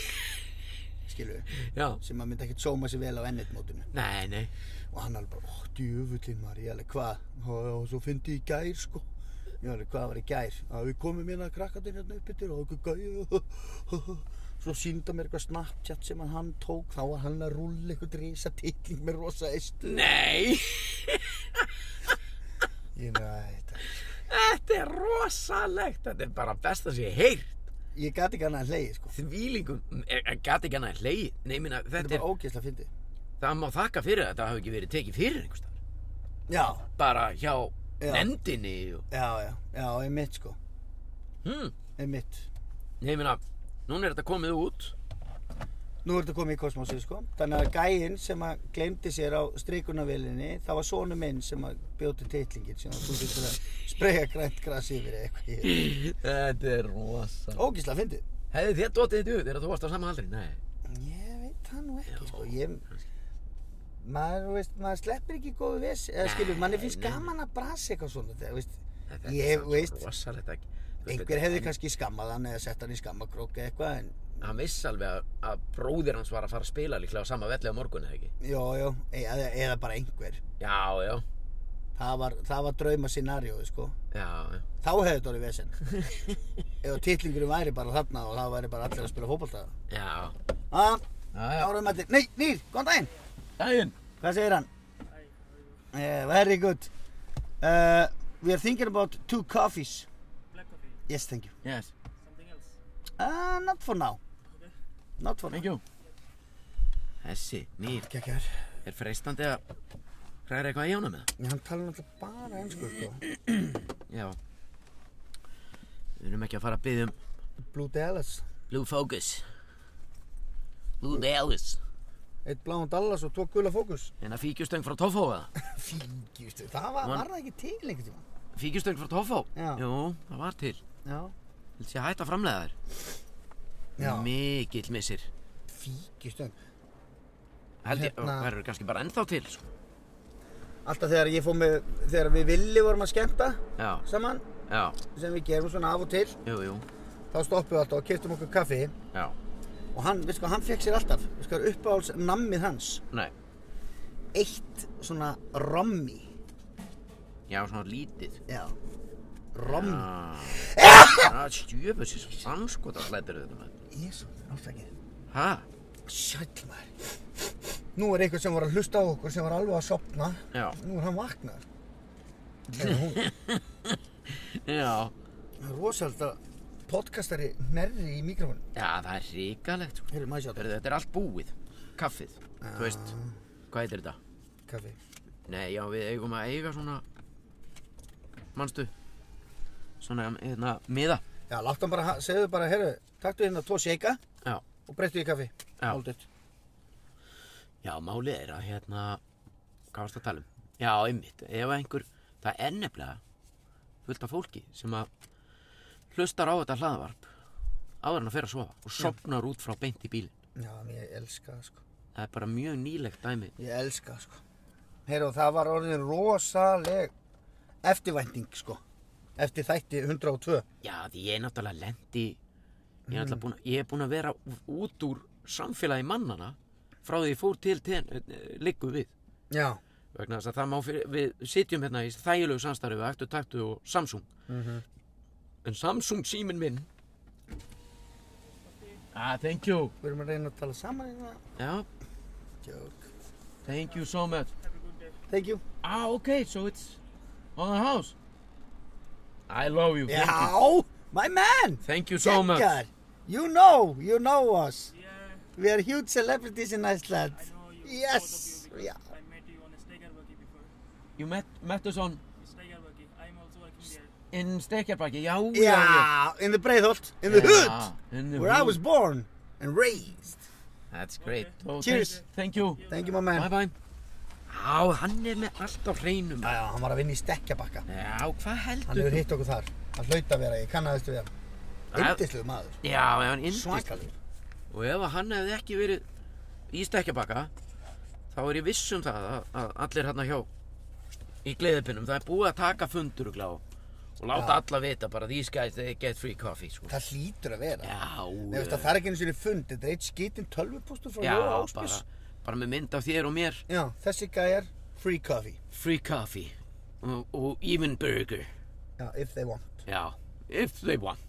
Speaker 1: skilu
Speaker 2: Já.
Speaker 1: sem að myndi ekkert sóma sér vel á ennit mótinu
Speaker 2: Nei, nei.
Speaker 1: og hann alveg bara, óh, djöfullin maður, ég alveg, hvað og, og svo fyndi ég í gær, sko ég alveg, hvað var í gær, að við komum hérna krakkarnir hérna upp yfir og okkur gæja svo sínda mér eitthvað snapchat sem að hann tók, þá var hann að rúlla eitthvað risa titling með rosa eistu
Speaker 2: Nei.
Speaker 1: ég með að þetta
Speaker 2: Þetta er rosalegt. Þetta er bara best að sé heyrt.
Speaker 1: ég gat ekki annað að hlegi, sko
Speaker 2: Þvílingum. Ég gæti ekki annað hlegi. Nei, minna,
Speaker 1: þetta
Speaker 2: þetta
Speaker 1: er
Speaker 2: er,
Speaker 1: bara ógeðslega fyndi
Speaker 2: það má þakka fyrir að þetta hafi ekki verið tekið fyrir einhverstað.
Speaker 1: já,
Speaker 2: Bara hjá
Speaker 1: Já.
Speaker 2: nefndinni og,
Speaker 1: já, já, já, ég mitt, sko
Speaker 2: hm,
Speaker 1: ég mitt
Speaker 2: nei, minna, núna er þetta komið út.
Speaker 1: Nú er þetta komið í kosmosið sko Þannig að gæinn sem að glemdi sér á strikunavélinni Það var sonu minn sem að bjóti titlingin sem að þú þurftur að spreja grænt græs yfir eða eitthvað
Speaker 2: Þetta er rosa
Speaker 1: Ógísla fyndið
Speaker 2: Hefði þér dotið þetta út, er þú varst á sama aldri? Nei
Speaker 1: Ég veit það nú ekki sko Ég Maður, þú veist, maður sleppir ekki góðu ves eða skilur, manni finnst
Speaker 2: Nei, nei.
Speaker 1: gaman að brasa eitthvað svona þegar, veist,
Speaker 2: Þetta
Speaker 1: Ég
Speaker 2: er samt
Speaker 1: veist-
Speaker 2: Rosalegt ekki Þú veist,
Speaker 1: einhver
Speaker 2: þetta-
Speaker 1: hefði kannski skammað hann eða sett hann í skammakrók eða eitthvað en,
Speaker 2: Hann vissi alveg að, að bróðir hans var að fara að spila líklega á sama velli á morgun eða ekki
Speaker 1: jó, jó, eða, eða bara einhver
Speaker 2: Já, já,
Speaker 1: það var, það var drauma sko
Speaker 2: já, já
Speaker 1: þá hefði þetta orðið vesen ef titlingurinn væri bara þarna og það væri bara allir að spila fótbolta
Speaker 2: Já,
Speaker 1: að,
Speaker 2: já, já
Speaker 1: áraðum allir, nei, nýr, góðan daginn
Speaker 2: Dæin
Speaker 1: hvað segir hann? Uh, very good uh, we are thinking about two coffees
Speaker 4: Black coffee.
Speaker 1: yes, thank you
Speaker 2: Yes,
Speaker 4: Something else.
Speaker 1: uh, not for now not for now
Speaker 2: you Þessi, nýr,
Speaker 1: Kekjar.
Speaker 2: er freistandi að hræra eitthvað í honum með
Speaker 1: hann tala náttúrulega bara einsku sko.
Speaker 2: Já Við erum ekki að fara að byggja um
Speaker 1: Blue Dallas
Speaker 2: Blue Focus Blue Dallas
Speaker 1: eitt bláan Dallas og tvo gula fókus
Speaker 2: En að fíkjustöng frá Toffó eða?
Speaker 1: fíkjustu, það var, var það ekki til einhvern tíma
Speaker 2: Fíkjustöng frá Toffó?
Speaker 1: Já.
Speaker 2: Jú, það var til.
Speaker 1: já,
Speaker 2: Vil sé hætta framlega
Speaker 1: já.
Speaker 2: þær. Mikill missir.
Speaker 1: fíkjustu
Speaker 2: Held ég,
Speaker 1: Hérna-
Speaker 2: það eru kannski bara ennþá til, sko.
Speaker 1: alltaf þegar ég fór með þegar við villi vorum að skemmta
Speaker 2: Já,
Speaker 1: saman
Speaker 2: já,
Speaker 1: sem við gerum svona af og til
Speaker 2: jú, jú,
Speaker 1: þá stoppum við alltaf og keftum okkur kaffi
Speaker 2: já,
Speaker 1: og hann, við sko, hann fekk sér alltaf við sko, uppáhalds nammið hans
Speaker 2: nei,
Speaker 1: eitt svona rommi
Speaker 2: já, svona lítið.
Speaker 1: já, rommi
Speaker 2: Já, það stjöfur sér svo samskota hlættir þetta með.
Speaker 1: jésu, ástakið
Speaker 2: Hæ?
Speaker 1: sæl maður nú er einhver sem var að hlusta á okkur sem var alveg að sopna
Speaker 2: Já,
Speaker 1: nú er hann vaknað Eða hún,
Speaker 2: já,
Speaker 1: það er rosalega podcastari nærri í mikrofónu
Speaker 2: já, það er ríkalegt, sko.
Speaker 1: heyrðu maður sjá
Speaker 2: Hörðu, þetta er allt búið. Kaffið, þú veist, hvað heitir þetta?
Speaker 1: þetta kaffi
Speaker 2: Nei, já, við eigum að eiga svona, manstu, svona, hérna, miða.
Speaker 1: já, láttu hann bara, segðu bara, heyrðu taktu hérna tvo seika
Speaker 2: Já.
Speaker 1: og breyttu í kaffi
Speaker 2: Já.
Speaker 1: Hálfdautt.
Speaker 2: Já, málið er að hérna, hvað varst að tala um? Já, einmitt, ef einhver, það er nefnilega fullt af fólki sem að hlustar á þetta hlaðvarp áður en að fyrir að sofa og sopnar út frá beint í bílinn.
Speaker 1: já, en ég elska það sko
Speaker 2: Það er bara mjög nýlegt dæmi.
Speaker 1: Ég elska það sko Heyrðu, það var orðin rosaleg eftirvænting, sko. Eftir þætti 102.
Speaker 2: Já, því ég er náttúrulega lendi, ég er náttúrulega búin, ég er búin að vera ú- út úr samfélagi mannana frá því ég fór til ten, liggu við.
Speaker 1: Já.
Speaker 2: Vegna þess að það má fyrir, við sitjum hérna í þægilegu samstarfi við eftir taktu og Samsung. En Samsung síminn minn. Ah, thank you.
Speaker 1: Við erum að reyna að tala saman hérna.
Speaker 2: Já,
Speaker 1: Joke.
Speaker 2: thank you so much.
Speaker 1: Thank you.
Speaker 2: Ah, ok, so it's on the house. I love you. Thank you.
Speaker 1: my man.
Speaker 2: Thank you so much.
Speaker 1: Geggjað. You know, you know us. We are huge celebrities in Iceland.
Speaker 4: I know you.
Speaker 1: Yes.
Speaker 4: Both of you
Speaker 1: Yeah.
Speaker 4: because I met you on a Steiger Buggy before.
Speaker 2: You met, met us on
Speaker 4: Steiger Buggy. I'm also working there.
Speaker 2: in Stekjarbakki, já, já, já.
Speaker 1: Yeah, in the Breiðholt, in the
Speaker 2: Yeah,
Speaker 1: hood,
Speaker 2: Ah, in the
Speaker 1: where I
Speaker 2: hood.
Speaker 1: was born and raised.
Speaker 2: That's great. So,
Speaker 1: Cheers.
Speaker 2: Thank, thank you.
Speaker 1: Thank you, my
Speaker 2: Bye
Speaker 1: man.
Speaker 2: bye. Á, hann er með allt á hreinum.
Speaker 1: Já, já, hann var að vinna í stekkjabakka.
Speaker 2: Já, hvað
Speaker 1: Hann
Speaker 2: heldur
Speaker 1: hefur hitt okkur þar. Hann hlaut að vera, ég kannaðist við hann.
Speaker 2: Það-
Speaker 1: Yndislegu maður.
Speaker 2: Já, ef hann yndist.
Speaker 1: Svakalegur.
Speaker 2: Og ef hann hefði ekki verið í Stekjarbakka, þá er ég viss um það að, að allir hérna hjá í gleðipinnum, það er búið að taka fundur og glá og láta
Speaker 1: Já.
Speaker 2: alla vita bara these guys, they get free coffee, sko.
Speaker 1: Það hlýtur að vera.
Speaker 2: Já,
Speaker 1: Nei, veist
Speaker 2: eh,
Speaker 1: að það er ekki eins og fund, þetta er eitt skitinn tölvupústur frá
Speaker 2: já,
Speaker 1: Jóa
Speaker 2: bara,
Speaker 1: Áspís.
Speaker 2: bara með mynd af þér og mér,
Speaker 1: Já, þessi gæjar, free coffee.
Speaker 2: free coffee og, og even burger.
Speaker 1: Já, if they want.
Speaker 2: Já, if they want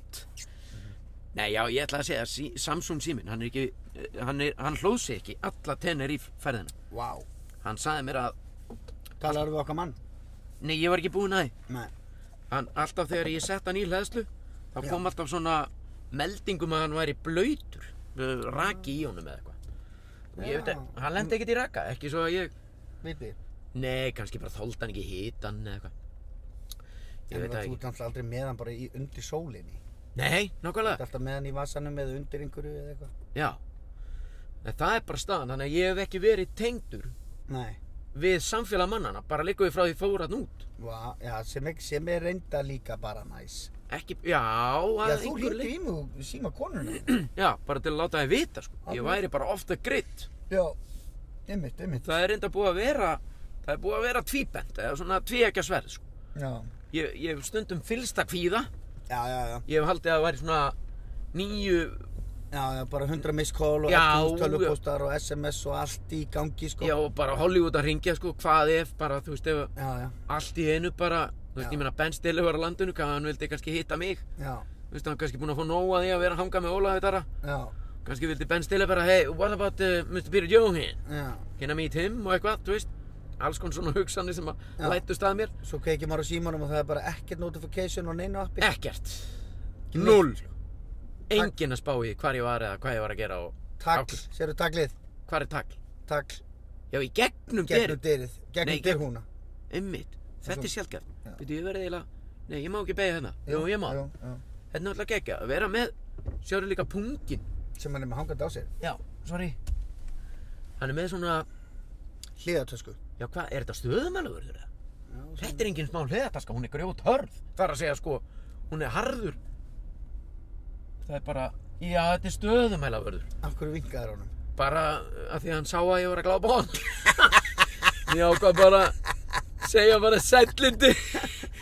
Speaker 2: Nei, já, ég ætla að segja sí, Samsung síminn, hann er ekki eh, hann, er, hann hlóð sig ekki alla tennir í ferðina
Speaker 1: Wow.
Speaker 2: Hann sagði mér að,
Speaker 1: Talar við okkar mann?
Speaker 2: nei, ég var ekki búinn að því
Speaker 1: Nei.
Speaker 2: Hann, alltaf þegar ég sett hann í hlæðslu þá
Speaker 1: Já.
Speaker 2: kom alltaf svona meldingum að hann væri blöytur raki í honum eða eitthvað og ég veit
Speaker 1: Já.
Speaker 2: að, hann lendi ekkert í raka ekki svo að ég,
Speaker 1: Viti,
Speaker 2: nei, kannski bara þóldi hann ekki hitan eða eitthvað
Speaker 1: en
Speaker 2: ég
Speaker 1: þú
Speaker 2: veit það
Speaker 1: ert
Speaker 2: ekki,
Speaker 1: náttúrulega aldrei með hann bara í, undir sólinni.
Speaker 2: nei,
Speaker 1: Þú
Speaker 2: nákvæmlega
Speaker 1: ert alltaf með hann í vasanum eða undir einhverju eða eitthvað.
Speaker 2: Já, en það er bara staðan, þannig að ég hef ekki verið tengdur
Speaker 1: Nei.
Speaker 2: við samfélag mannana, bara líka við frá því fóratn út.
Speaker 1: Vá, já, sem, ekki, sem er reynda líka bara næs.
Speaker 2: Ekki, já, að
Speaker 1: Já, þú
Speaker 2: einhverju
Speaker 1: hringdi
Speaker 2: leyti.
Speaker 1: í mig og síma konuna.
Speaker 2: Já, bara til að láta þið vita, sko. Ég
Speaker 1: Alveg.
Speaker 2: væri bara ofta gritt.
Speaker 1: já, einmitt, einmitt.
Speaker 2: Það er reynda búið að vera, það er búið að vera tvíbent, eða svona tvíækja sverð, sko.
Speaker 1: Já.
Speaker 2: Ég, ég hef stundum fylst að kvíða,
Speaker 1: Já, já, já.
Speaker 2: ég hef haldið að það væri svona nýju,
Speaker 1: Já, já, bara 100 miss call og
Speaker 2: Já,
Speaker 1: 11
Speaker 2: já.
Speaker 1: tölvupóstar og SMS og allt í gangi, sko.
Speaker 2: já, bara Hollywood að ringja, sko, hvað ef, bara, þú veist, ef
Speaker 1: Já, já,
Speaker 2: allt í einu bara, þú veist,
Speaker 1: Já.
Speaker 2: ég meina Ben Stiller var á landinu, hvað hann vildi kannski hitta mig.
Speaker 1: já,
Speaker 2: Þú veist, hann er kannski búinn að fá nóg að því að vera að hanga með Ólaði þara.
Speaker 1: já,
Speaker 2: Kannski vildi Ben Stiller bara, hey, what about uh, Mr. Peter Johan?
Speaker 1: já.
Speaker 2: Can I meet him? Og eitthvað, þú veist. Alls konar svona hugsanir sem að
Speaker 1: Já.
Speaker 2: lættust að mér.
Speaker 1: Svo kveikir maður á símanum og það er bara ekkert notification og neina appi.
Speaker 2: Ekkert.
Speaker 1: Ekki neitt,
Speaker 2: Null.
Speaker 1: sko.
Speaker 2: Enginn að spá í hvar ég var eða hvað ég var að gera og...
Speaker 1: Tagl,
Speaker 2: Ákvörðun.
Speaker 1: sérðu taglið?
Speaker 2: Hvar er tagl?
Speaker 1: Tagl,
Speaker 2: Já, í gegnum
Speaker 1: gegnum
Speaker 2: gerð.
Speaker 1: dyrið,
Speaker 2: Nei,
Speaker 1: gegnum
Speaker 2: gegn-
Speaker 1: dyrhúna.
Speaker 2: Einmitt. Þetta er sjálfgæft.
Speaker 1: Já.
Speaker 2: Býtu, ég verði eiginlega... Nei, ég má ekki beigja hérna. Jú, ég má.
Speaker 1: Jú, jú.
Speaker 2: Þetta er náttúrulega geggja. Að vera með... Sjáru líka pungin.
Speaker 1: Sem hann er með hangandi á sér.
Speaker 2: Já, sorry. Hann er með svona...
Speaker 1: Hliðartösku.
Speaker 2: Já, hvað, er þetta stöðumæluvörður eða?
Speaker 1: Já,
Speaker 2: Þetta er engin smá hliðataska, hún er grjót hörð. Það er að segja sko, hún er harður. Það er bara, já þetta er stöðumælavörður.
Speaker 1: Af hverju vinkaðir honum?
Speaker 2: Bara að því að hann sá að ég var að glápa á hann. ég ákvað bara, segja bara sætlindi.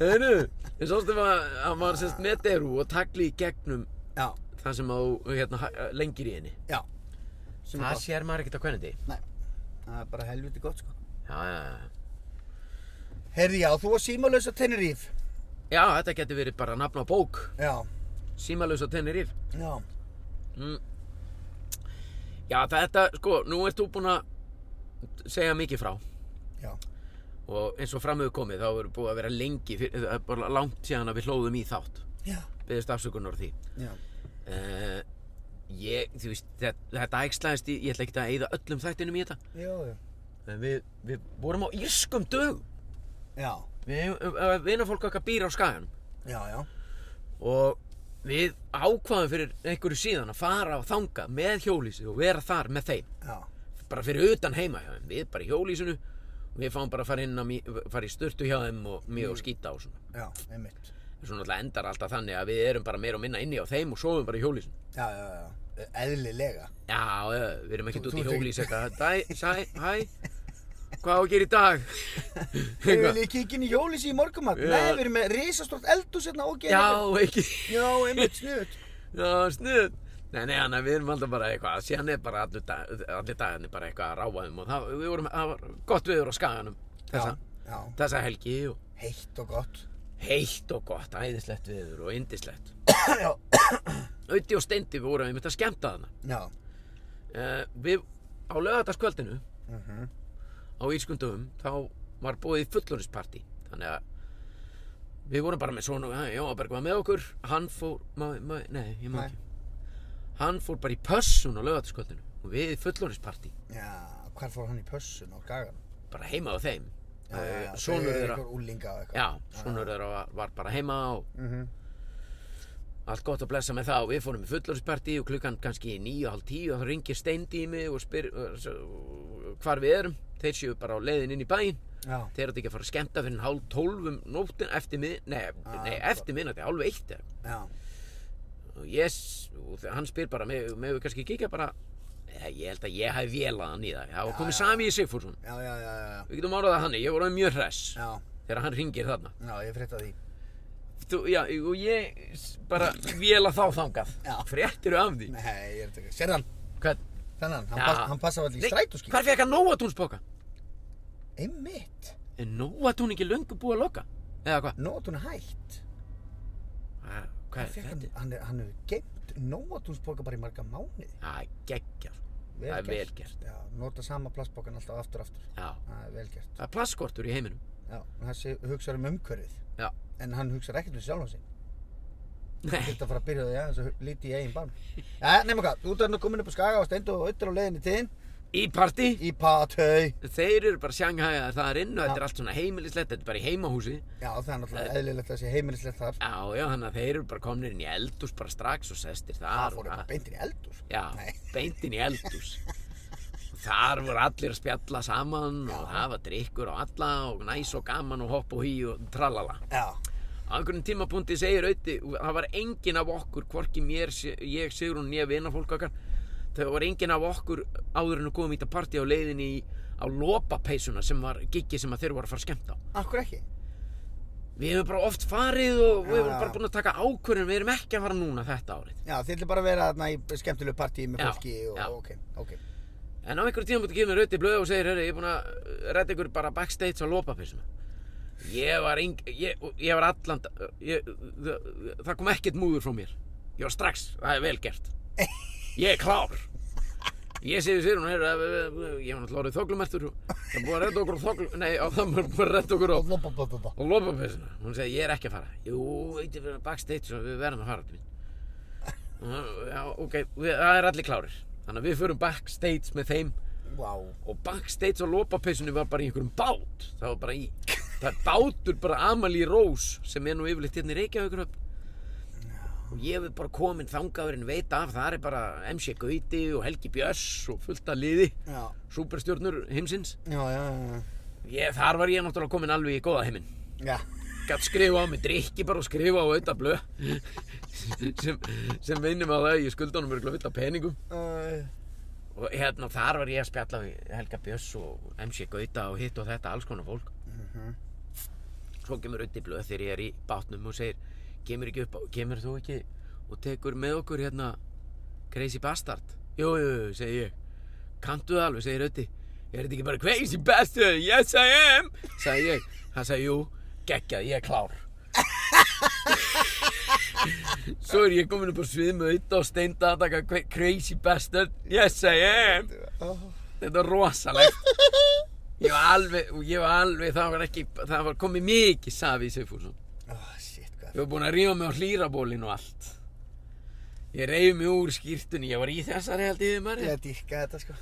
Speaker 2: Heyrðu, ég sást um að hann var sérst neteru og tagli í gegnum
Speaker 1: Já,
Speaker 2: það sem á, hérna, hæ- lengir í henni.
Speaker 1: já. Sem er
Speaker 2: Það
Speaker 1: gott.
Speaker 2: sér maður ekkert á hvernig því.
Speaker 1: Nei, það er bara helviti gott sko.
Speaker 2: Já, já, já.
Speaker 1: Herði já, þú var símalösa Teneríf.
Speaker 2: Já, þetta getur verið bara nafn á bók.
Speaker 1: Já,
Speaker 2: Símalus á Teneríf.
Speaker 1: já,
Speaker 2: Mm. Já, þetta, sko, nú ert þú búinn að segja mikið frá
Speaker 1: já.
Speaker 2: og eins og framöðu komið þá erum búið að vera lengi, fyrir, það er bara langt síðan að við hlóðum í þátt,
Speaker 1: Já,
Speaker 2: beðist afsökunar á því.
Speaker 1: já.
Speaker 2: Uh, ég, þú veist, þetta, þetta ægslæðist í, ég ætla ekki að eyða öllum þættinum í þetta,
Speaker 1: Já, já.
Speaker 2: en við, við vorum á írskum dögum,
Speaker 1: Já,
Speaker 2: við, uh, vinafólk okkar býr á skaganum
Speaker 1: já, já.
Speaker 2: og við ákvaðum fyrir einhverju síðan að fara á þanga með hjólísi og vera þar með þeim.
Speaker 1: Já,
Speaker 2: bara fyrir utan heima hjá þeim við bara í hjólísinu og við fáum bara að fara inn að mí- fara í sturtu hjá þeim og mjög mm. skýta og svona
Speaker 1: já, einmitt.
Speaker 2: en svo náttúrulega endar alltaf þannig að við erum bara meira og minna inni á þeim og sofum bara í hjólísinu
Speaker 1: Já, já, já. Eðlilega.
Speaker 2: já, eh, við erum
Speaker 1: Þú-
Speaker 2: ekkert
Speaker 1: þú
Speaker 2: út í
Speaker 1: ert
Speaker 2: hjólís eitthvað dæ, sæ, hæ Hvað á að gera í dag?
Speaker 1: Við viljið kíkja inn í hjólísi í morgumat.
Speaker 2: Já.
Speaker 1: Nei, við erum með risastort eldús hérna og
Speaker 2: Já, ekki.
Speaker 1: Já, einmitt snuðt.
Speaker 2: Já, sniður. Nei, nei, hann, við erum alltaf bara eitthvað, síðan er bara allir, dag, allir dagarnir bara eitthvað að ráa um og það, við vorum, það var gott viður á skaganum þessa,
Speaker 1: Já,
Speaker 2: þessa helgi og
Speaker 1: heitt og gott.
Speaker 2: heitt og gott, æðislegt viður og indislegt.
Speaker 1: Já,
Speaker 2: Ötti og Steindi við vorum einmitt að skemmta þarna.
Speaker 1: já.
Speaker 2: Uh, við, á lögadagskvöldinu,
Speaker 1: Uh
Speaker 2: á Ískundum, þá var búið fullorðisparti, þannig að við vorum bara með svona, Jóaberg var með okkur, hann fór, má, má, nei, ég má
Speaker 1: Nei.
Speaker 2: ekki, hann fór bara í pössun á lögadagskvöldinu og við í fullorðisparti,
Speaker 1: Já, hvar fór hann í pössun á gagan?
Speaker 2: bara heima á þeim, Eh,
Speaker 1: Já, já, já,
Speaker 2: sonur
Speaker 1: þau eru
Speaker 2: þeirra,
Speaker 1: einhver úlinga og eitthvað.
Speaker 2: já, sonur þeirra var, var bara heima og
Speaker 1: Mhm.
Speaker 2: allt gott að blessa með það og við fórum í fullorðisparti og klukkan kannski nýju, halv tíu og þá ringir steindi í mig og spyr uh, s- uh, hvar við erum, þeir séu bara á leiðin inn í bæinn
Speaker 1: Já,
Speaker 2: þeir átti ekki að fara að skemmta fyrir hálf tólfum nóttin eftir mið, nei,
Speaker 1: Ah,
Speaker 2: nei
Speaker 1: sko.
Speaker 2: eftir miðnætti, hálf eitt eða eitthvað.
Speaker 1: já.
Speaker 2: og yes, og þe- hann spyr bara með, með við kannski kíkja bara eða, ég held að ég hafi vélað hann í það það var
Speaker 1: Já, já.
Speaker 2: komið sami í Sigfússon
Speaker 1: Já, já, já, já, já.
Speaker 2: við getum orðað það þannig, ég voru mjög hress
Speaker 1: Já,
Speaker 2: þegar hann ringir þarna
Speaker 1: já, ég frétta því.
Speaker 2: Þú, já, og ég s- bara véla þá þangað
Speaker 1: Já.
Speaker 2: fréttir af því
Speaker 1: Nei, ég er þetta ekki. Sér hann,
Speaker 2: Hvað,
Speaker 1: þennan, hann,
Speaker 2: Já.
Speaker 1: pass, hann passar allir í strætóskík.
Speaker 2: hvað fekk hann nóatúnsbóka?
Speaker 1: Einmitt.
Speaker 2: er nóatún ekki löngu búið að loka? eða hvað?
Speaker 1: Nóatún er hætt.
Speaker 2: Ah, hvað
Speaker 1: Hann
Speaker 2: er
Speaker 1: fékk
Speaker 2: þetta?
Speaker 1: hann, hann, er- hann hefur geimt nóatúnsboka bara í marga mánuði.
Speaker 2: það er geggjað það er vel gert
Speaker 1: Já, nota sama plastbokan alltaf aftur aftur.
Speaker 2: já.
Speaker 1: Það er vel gert.
Speaker 2: það er plaskortur í heiminum
Speaker 1: Já, þessi hugsar um umhverfið.
Speaker 2: Já.
Speaker 1: En hann hugsar ekkert um sjálfan sig.
Speaker 2: Nei,
Speaker 1: Þetta fara að byrja á því aðeins að líti í eigin barm. Já, nema hvað, þú ert nú komin upp á Skaga og stendur og auðvitað á leiðinni til þinn
Speaker 2: í partí
Speaker 1: í Patau.
Speaker 2: Þeir eru bara sjanghæðar þar inn og þetta er allt svona heimilislegt, þetta er bara í heimahúsi
Speaker 1: Já, það er náttúrulega eðlilegt þessi heimilislegt þar.
Speaker 2: Já, já, þannig að þeir eru bara komnir inn í eldús bara strax og sestir
Speaker 1: Það
Speaker 2: þar
Speaker 1: fór
Speaker 2: og
Speaker 1: upp beintir í eldur.
Speaker 2: Já,
Speaker 1: Nei.
Speaker 2: beint inn í eldús Og Þar voru allir að spjalla saman og hafa drikkur og alla og næs og gaman og hopp og hí og tralala
Speaker 1: Já,
Speaker 2: Á einhvern tímapunkti segir auði, það var enginn af okkur, hvorki mér, Sig- ég, Sigrún, ég, vinafólk okkar Það var enginn af okkur áður en að komum í þetta partí á leiðinni í, á lopapeysuna sem var giggi sem að þeir voru að fara að skemmta á
Speaker 1: akkur ekki.
Speaker 2: Við hefum bara oft farið og við
Speaker 1: Já,
Speaker 2: hefum
Speaker 1: já.
Speaker 2: bara búin að taka ákvörðin, við erum ekki að fara núna þetta árið.
Speaker 1: Já, þið ætlir bara að vera þarna í skemmtilegu partíi með
Speaker 2: Já,
Speaker 1: fólki og
Speaker 2: já.
Speaker 1: ok, ok.
Speaker 2: En á einhverjum tíma búin að gefa mér rauti blöð og segir, herri, ég er búin að uh, redda ykkur bara backstage á lópapissuna. Ég var, eng, ég, og ég var allan, ég, það, það kom ekkert múður frá mér. Ég var strax, það er vel gert. Ég er klár. Ég segi sér hún, herri, ég var náttúrulega orðið þoglumertur og það er búin að redda okkur á þoglum, nei, á, það er búin að redda okkur á
Speaker 1: Og loppa, loppa, loppa.
Speaker 2: á lopapessuna hún segi ég er ekki að fara jú, eitthvað fyrir backstage og við verðum að fara til mín Og, já, ok, við, það er allir klárir þannig að við förum backstage með þeim
Speaker 1: Vá.
Speaker 2: og backstage á lopapessunni var bara í einhverjum bát það var bara í það er bátur bara Amalí Rós sem er nú yfirleitt hérna í Reykjavíkurhöfn og ég hef bara komin þangaðurinn veit af það er bara MC Gauti og Helgi Björns og fullt af liði
Speaker 1: Já,
Speaker 2: superstjórnur heimsins
Speaker 1: já, já, já.
Speaker 2: ég, þar var ég náttúrulega komin alveg í góða heiminn
Speaker 1: Já,
Speaker 2: gætt skrifa á mig drikki bara og skrifa á auðvitað blöð sem, sem vinnum á það að ég skulda honum örgulega vitt af peningum
Speaker 1: uh,
Speaker 2: og hérna þar var ég að spjalla við Helga Björns og MC Gauta og hitt og þetta alls konar fólk svo kemur auðvitað blöð þegar ég er í bátnum og segir kemur ekki upp á, kemur þú ekki og tekur með okkur hérna Crazy Bastard jú, jú, jú, segi ég kanntu það alveg, segir Ötti er þetta ekki bara Crazy Bastard, yes I am sagði ég, hann sagði jú geggjað, ég er klár svo er ég komin upp á svið með Ötta og steinda að taka Cra- Crazy Bastard yes I am þetta er rosalegt ég var alveg, og ég var alveg það var ekki, það var komið mikið safi í Sigfússon
Speaker 1: oh, shit, hvað.
Speaker 2: ég var búin að rífa mig á hlýrabólin og allt ég reyfi mig úr skýrtunni ég var í þessari held ég maður
Speaker 1: Ég dýrka þetta sko.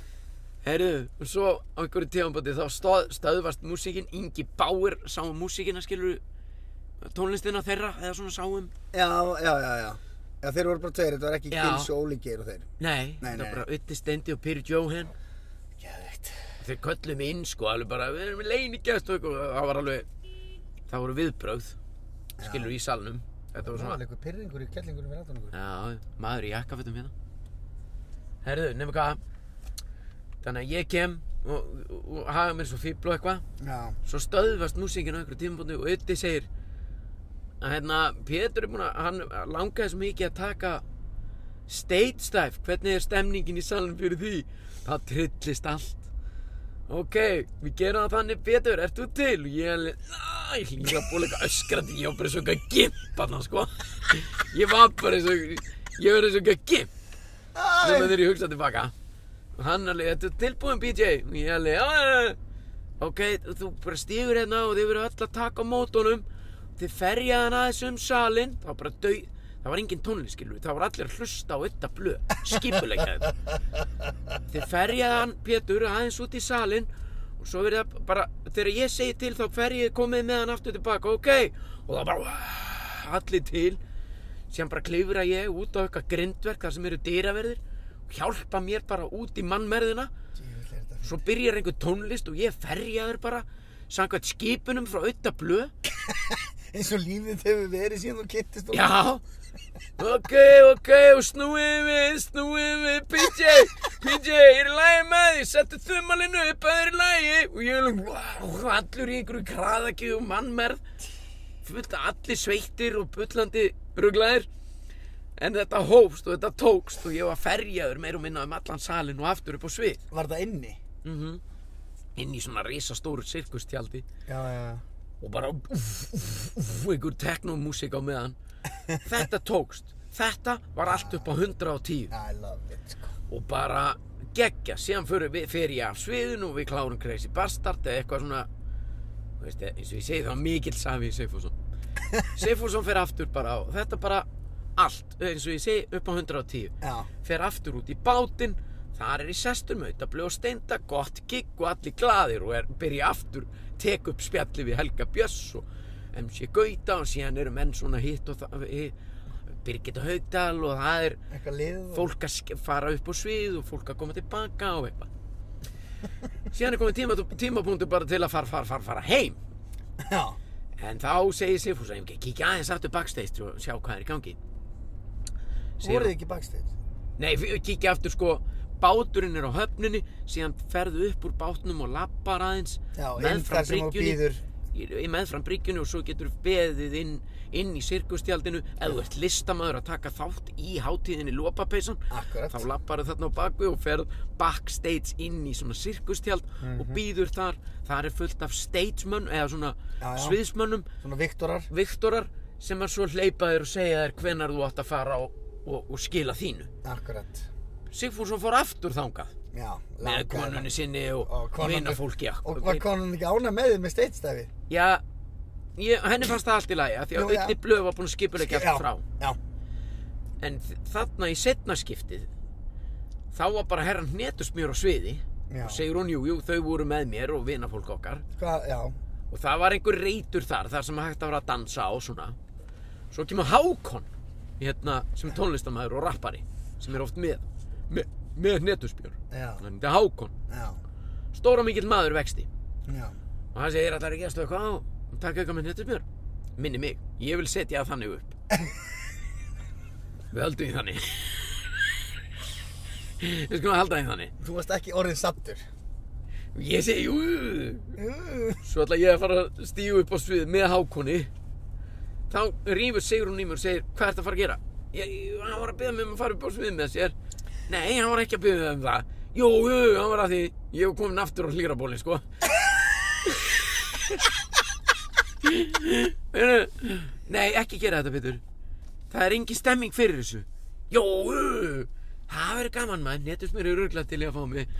Speaker 2: Herru, og svo á einhverju tíðanbóti þá stöð, stöðvast músíkin, Ingi Báir sá um músíkina, skilur tónlistina þeirra, eða svona sáum
Speaker 1: Já, já, já, já. Já, þeir voru bara tveir, þetta var ekki
Speaker 2: Já.
Speaker 1: Gils og Ólingeir og þeir.
Speaker 2: Nei,
Speaker 1: Nei,
Speaker 2: það
Speaker 1: nei.
Speaker 2: var bara Utti Steindi og Pyrir Jóhann
Speaker 1: Geðveikt.
Speaker 2: Þeir köllum inn sko, alveg bara, við erum með leiningest og eitthvað, það var alveg Það voru viðbrögð, skilur í salnum Þetta var
Speaker 1: Það var
Speaker 2: svona,
Speaker 1: einhver pyrringur í kellingunum við ráðanungur.
Speaker 2: já, maður í jakkafötum hérna Herðu, nema hvað Þannig að ég kem og, og, og haga mér svo fíbl og eitthvað
Speaker 1: Já,
Speaker 2: svo stöðvast músíkinn á einhverju tímabóndi og Ötti segir að hérna, Pétur er búinn að, hann langaði svo mikið að taka stage dive, hvernig er stemningin í salnum fyrir því? Það trillist allt. Ok, við gerum það þannig, Pétur, ert þú til? Og ég alveg, næ, ég hlýra búin eitthvað öskrandi, ég var bara eins og eitthvað gimp hann, sko. Ég var bara eins og, ég var eins og eitthvað gimp. Nefnum þegar ég hugsaði tilbaka. Og hann alveg, ert þú tilbúin, BJ? Og ég alveg, já, já, já ok, þú bara stígur hérna og þið verður öll að taka á mótunum þið ferja hann aðeins um salin það var bara dau, það var engin tónlist skilur það var allir að hlusta á þetta blöð skipulegja þetta þið ferja hann Pétur aðeins út í salin og svo verður það bara þegar ég segi til þá ferjið komið með hann aftur tilbaka, ok og það bara "Vá", allir til sem bara klifra ég út á eitthvað grindverk þar sem eru dýraverðir og hjálpa mér bara út í mannmerðina
Speaker 1: djöfull er þetta
Speaker 2: svo byrjar einhver tónlist og ég er ferjaður bara samkvæmt skipunum frá auðtablu
Speaker 1: eins og lífið hefur verið síðan þú kynntist og
Speaker 2: já ok, ok, og snúið við snúið við, PJ PJ, ég er í lagi með því, settu þumalinu upp að það er í lagi og ég er alveg, wow, allur í einhverju kraðakið og mannmerð fullt af allir sveittir og bullandi ruglaðir en þetta hófst og þetta tókst og ég var ferjaður meir og minna um allan salin og aftur upp á svið
Speaker 1: var það inni
Speaker 2: mm inn í svona risastóru sirkustjaldi
Speaker 1: Já, já, já
Speaker 2: og bara uff, uff, uff, einhver teknomúsík á meðan þetta tókst þetta var allt upp á 110
Speaker 1: I love it, sko
Speaker 2: og bara geggja síðan fyrir, við, fyrir ég af sviðinu og við klárum Crazy Bastard eða eitthvað svona þú veist, eins og ég segi það var mikill safi í Seifursson Seifursson fer aftur bara á þetta bara allt eins og ég segi upp á 110
Speaker 1: Já,
Speaker 2: fer aftur út í bátinn þar er í sestur með þetta blöð og steinda gott gigg og allir glaðir og er, byrja aftur, tek upp spjalli við Helga Björns og MC Gauta og síðan eru menn svona hitt og það hi- Birgitta Haugdal og það er
Speaker 1: eitthvað lið og...
Speaker 2: fólk að sk- fara upp á svið og fólk að koma tilbaka og eitthvað síðan er komið tíma, tímapunktu bara til að fara, fara, fara, fara heim
Speaker 1: Já,
Speaker 2: en þá segir Sigfús að ég ekki kíkja aðeins aftur backstage og sjá hvað er í gangi Segir
Speaker 1: voruð
Speaker 2: hann-
Speaker 1: þið ekki backstage?
Speaker 2: Nei, við- kíkja aftur sko Báturinn er á höfninni Síðan ferðu upp úr bátnum og lappar aðeins
Speaker 1: Já,
Speaker 2: meðfram
Speaker 1: inn þar sem hún
Speaker 2: bryggjunni-
Speaker 1: býður
Speaker 2: í- í meðfram bryggjunni og svo getur beðið inn, inn í sirkustjaldinu eða þú ert listamaður að taka þátt í hátíðinni lopapeysan
Speaker 1: Akkurat.
Speaker 2: þá lappar þarna á bakvið og ferð backstage inn í svona sirkustjald
Speaker 1: Mhm.
Speaker 2: og býður þar þar er fullt af stagemönn eða svona
Speaker 1: Já, já.
Speaker 2: sviðsmönnum
Speaker 1: Svona Viktorar
Speaker 2: Viktorar sem er svo hleypaðir og segja þér hvenar þú átt að fara og, og, og skila þínu
Speaker 1: Akkurat
Speaker 2: Sigfússon fór aftur þangað
Speaker 1: Já,
Speaker 2: með
Speaker 1: langaði
Speaker 2: konunni sinni og,
Speaker 1: Og
Speaker 2: og
Speaker 1: konan-
Speaker 2: vinafólki
Speaker 1: Og var konan ekki ána með þið með steitstæfi?
Speaker 2: Já, ég, henni fannst það allt í lagi af því að
Speaker 1: Nú, já.
Speaker 2: Ötti Blöð var búin að skipulegja allt frá
Speaker 1: Já,
Speaker 2: en þ- þarna í setna skiptið þá var bara herran hnetus mér á sviði
Speaker 1: Já.
Speaker 2: og segir hún, jú, jú, þau voru með mér og vinafólk okkar
Speaker 1: hvað, já
Speaker 2: og það var einhver reytur þar þar sem hægt að vera að dansa á svona svo kemur Hákon hérna, sem tónlistamæður og rappari sem er oft með með, með hnetusbjörn
Speaker 1: Já,
Speaker 2: hann er Hákon,
Speaker 1: já,
Speaker 2: stóra mikill maður vexti
Speaker 1: já
Speaker 2: og hann segir allar ekki að stöða hvað á og taka eitthvað með hnetusbjörn minni mig, ég vil setja það þannig upp við höldum í þannig við skulum að halda í þannig
Speaker 1: Þú varst ekki orðin sattur
Speaker 2: og ég segi jú svo ætla ég að fara að stíu upp á svið með hákonni þá rýfur Sigrun í mér og segir hvað ertu að fara að gera ég, ég- hann var að byggja mig um að fara upp á svið með sér nei, hann var ekki að byggja mig um það jú, jú, jú, hann var að því ég var komin aftur á hlýrabólin sko Heyrðu, nei, ekki gera þetta Pétur það er engin stemming fyrir þessu jú, jú, jú. það verður gaman mann netusmur eru örglað til í að fá mig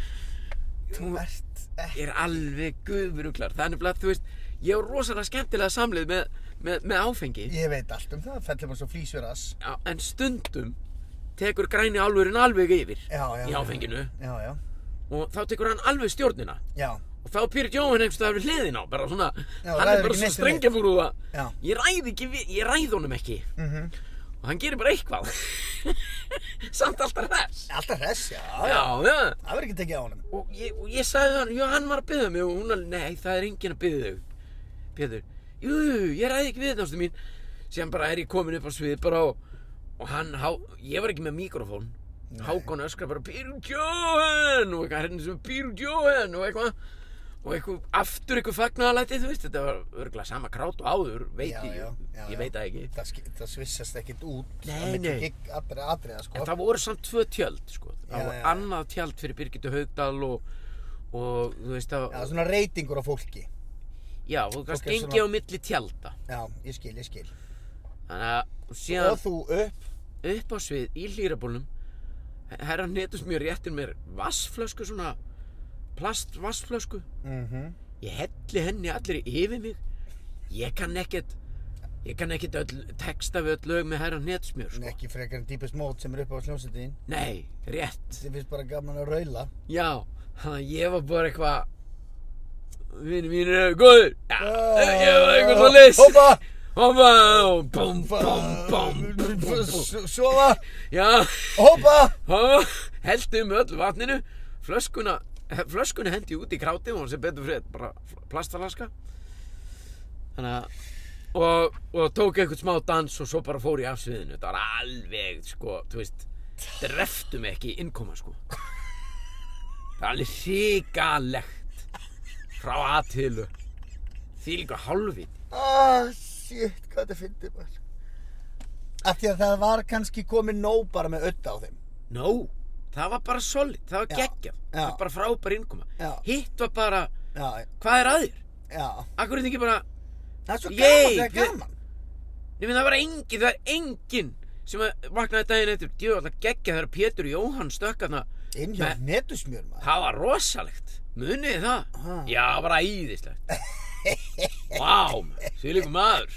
Speaker 1: Þú ert ekki
Speaker 2: ég er alveg guðbruglar það er nefnilega, þú veist, ég er rosalega skemmtilega samlið með, með, með áfengi
Speaker 1: Ég veit allt um það, fellur maður svo flýsur ass
Speaker 2: Já, en stundum tekur græni álfurinn alveg yfir
Speaker 1: Já, já,
Speaker 2: í
Speaker 1: já.
Speaker 2: áfenginu
Speaker 1: Já, já,
Speaker 2: og þá tekur hann alveg stjórnina
Speaker 1: já,
Speaker 2: og þá pýrir Jóhann einhvers staðar við hliðin á bara svona,
Speaker 1: Já,
Speaker 2: hann
Speaker 1: ræður
Speaker 2: er
Speaker 1: ekki neitt
Speaker 2: bara svo
Speaker 1: við neitt.
Speaker 2: strengjabrúða
Speaker 1: Já.
Speaker 2: ég ræð ekki við, ég ræð honum ekki
Speaker 1: mhm
Speaker 2: og hann gerir bara eitthvað samt alltaf hress
Speaker 1: Alltaf hress, já, já
Speaker 2: já, já.
Speaker 1: Það verður ekki tekið á honum
Speaker 2: og ég, og ég sagði hann, já hann var að byggja mig og hún alveg, nei það er enginn að byggja þau Pétur, jú, jú, jú, ég ræði ekki við þetta ástu mín síðan bara er ég komin upp á svið bara og, og hann, há, ég var ekki með mikrofón Hákon öskra bara Píru Jóhann og eitthvað hérna sem Píru Jóhann og eitthvað og eitthvað aftur eitthvað fagnaðalæti þú veist þetta var örgulega sama krát og áður veit
Speaker 1: Já,
Speaker 2: ég,
Speaker 1: já, já,
Speaker 2: ég
Speaker 1: já.
Speaker 2: veit það ekki
Speaker 1: Það, ski- það svissast ekkert út
Speaker 2: Nei,
Speaker 1: á milli
Speaker 2: nei.
Speaker 1: gigg allra atriða sko
Speaker 2: en það voru samt tvö tjöld sko það
Speaker 1: Já,
Speaker 2: var
Speaker 1: já, já.
Speaker 2: annað tjald fyrir Birgitu Haugdal og, og þú veist það
Speaker 1: Já, svona reytingur á fólki
Speaker 2: já og þú
Speaker 1: Ok,
Speaker 2: kannski gengi
Speaker 1: svona-
Speaker 2: á milli tjalda
Speaker 1: Já, ég skil, ég skil
Speaker 2: þannig að og
Speaker 1: Og
Speaker 2: síðan
Speaker 1: þú upp
Speaker 2: upp á svið í hlýrabólnum herra netust mjög réttir mér vassflösku svona plast vassflösku
Speaker 1: mm
Speaker 2: ég helli henni allir yfir mig ég kann ekkert ég kann ekkert öll, texta við öll lög með herra netsmjör sko.
Speaker 1: Ekki frekar en Deepest Mode sem er upp á hljómsveitin
Speaker 2: nei, rétt
Speaker 1: Þið finnst bara gaman að raula
Speaker 2: já, þannig að ég var bara eitthvað vinni mínir eru góður já, ég var eitthvað svo list
Speaker 1: Ah. Hoppa
Speaker 2: hoppa og bum bum bum bum, bum bum.
Speaker 1: S- Sofa
Speaker 2: já,
Speaker 1: Hoppa
Speaker 2: hoppa heldum öll vatninu flöskuna eh, flöskuna hendi ég út í kráti og hún sem betur fyrir bara plastalaska þannig að og, og tók einhvern smá dans og svo bara fór ég af sviðinu þetta var alveg sko, þú veist dreftum ekki innkoma sko það var alveg hrikalegt frá aðtilu því líka hálfið
Speaker 1: Ah, shit, hvað þetta fyndi bara Af því að það var kannski komið nóg bara með ödd á þeim
Speaker 2: no, það var bara solid, það var
Speaker 1: Já,
Speaker 2: geggjað það
Speaker 1: já.
Speaker 2: var bara frábær innkoma
Speaker 1: Já.
Speaker 2: hitt var bara,
Speaker 1: Já,
Speaker 2: hvað er að þér?
Speaker 1: já
Speaker 2: Akkur er þetta ekki bara
Speaker 1: Það er svo
Speaker 2: Yay,
Speaker 1: gaman, það er
Speaker 2: við-
Speaker 1: gaman
Speaker 2: Nei, menn það var engin, það er engin sem að vaknaði daginn eftir Djú, alltaf geggja þegar Pétur Jóhann stökk þarna
Speaker 1: Inn hjá
Speaker 2: Me-
Speaker 1: netusmjör maður
Speaker 2: Það var rosalegt Munið þið það?
Speaker 1: Ha.
Speaker 2: Já, það var æðislegt Vá, því líka maður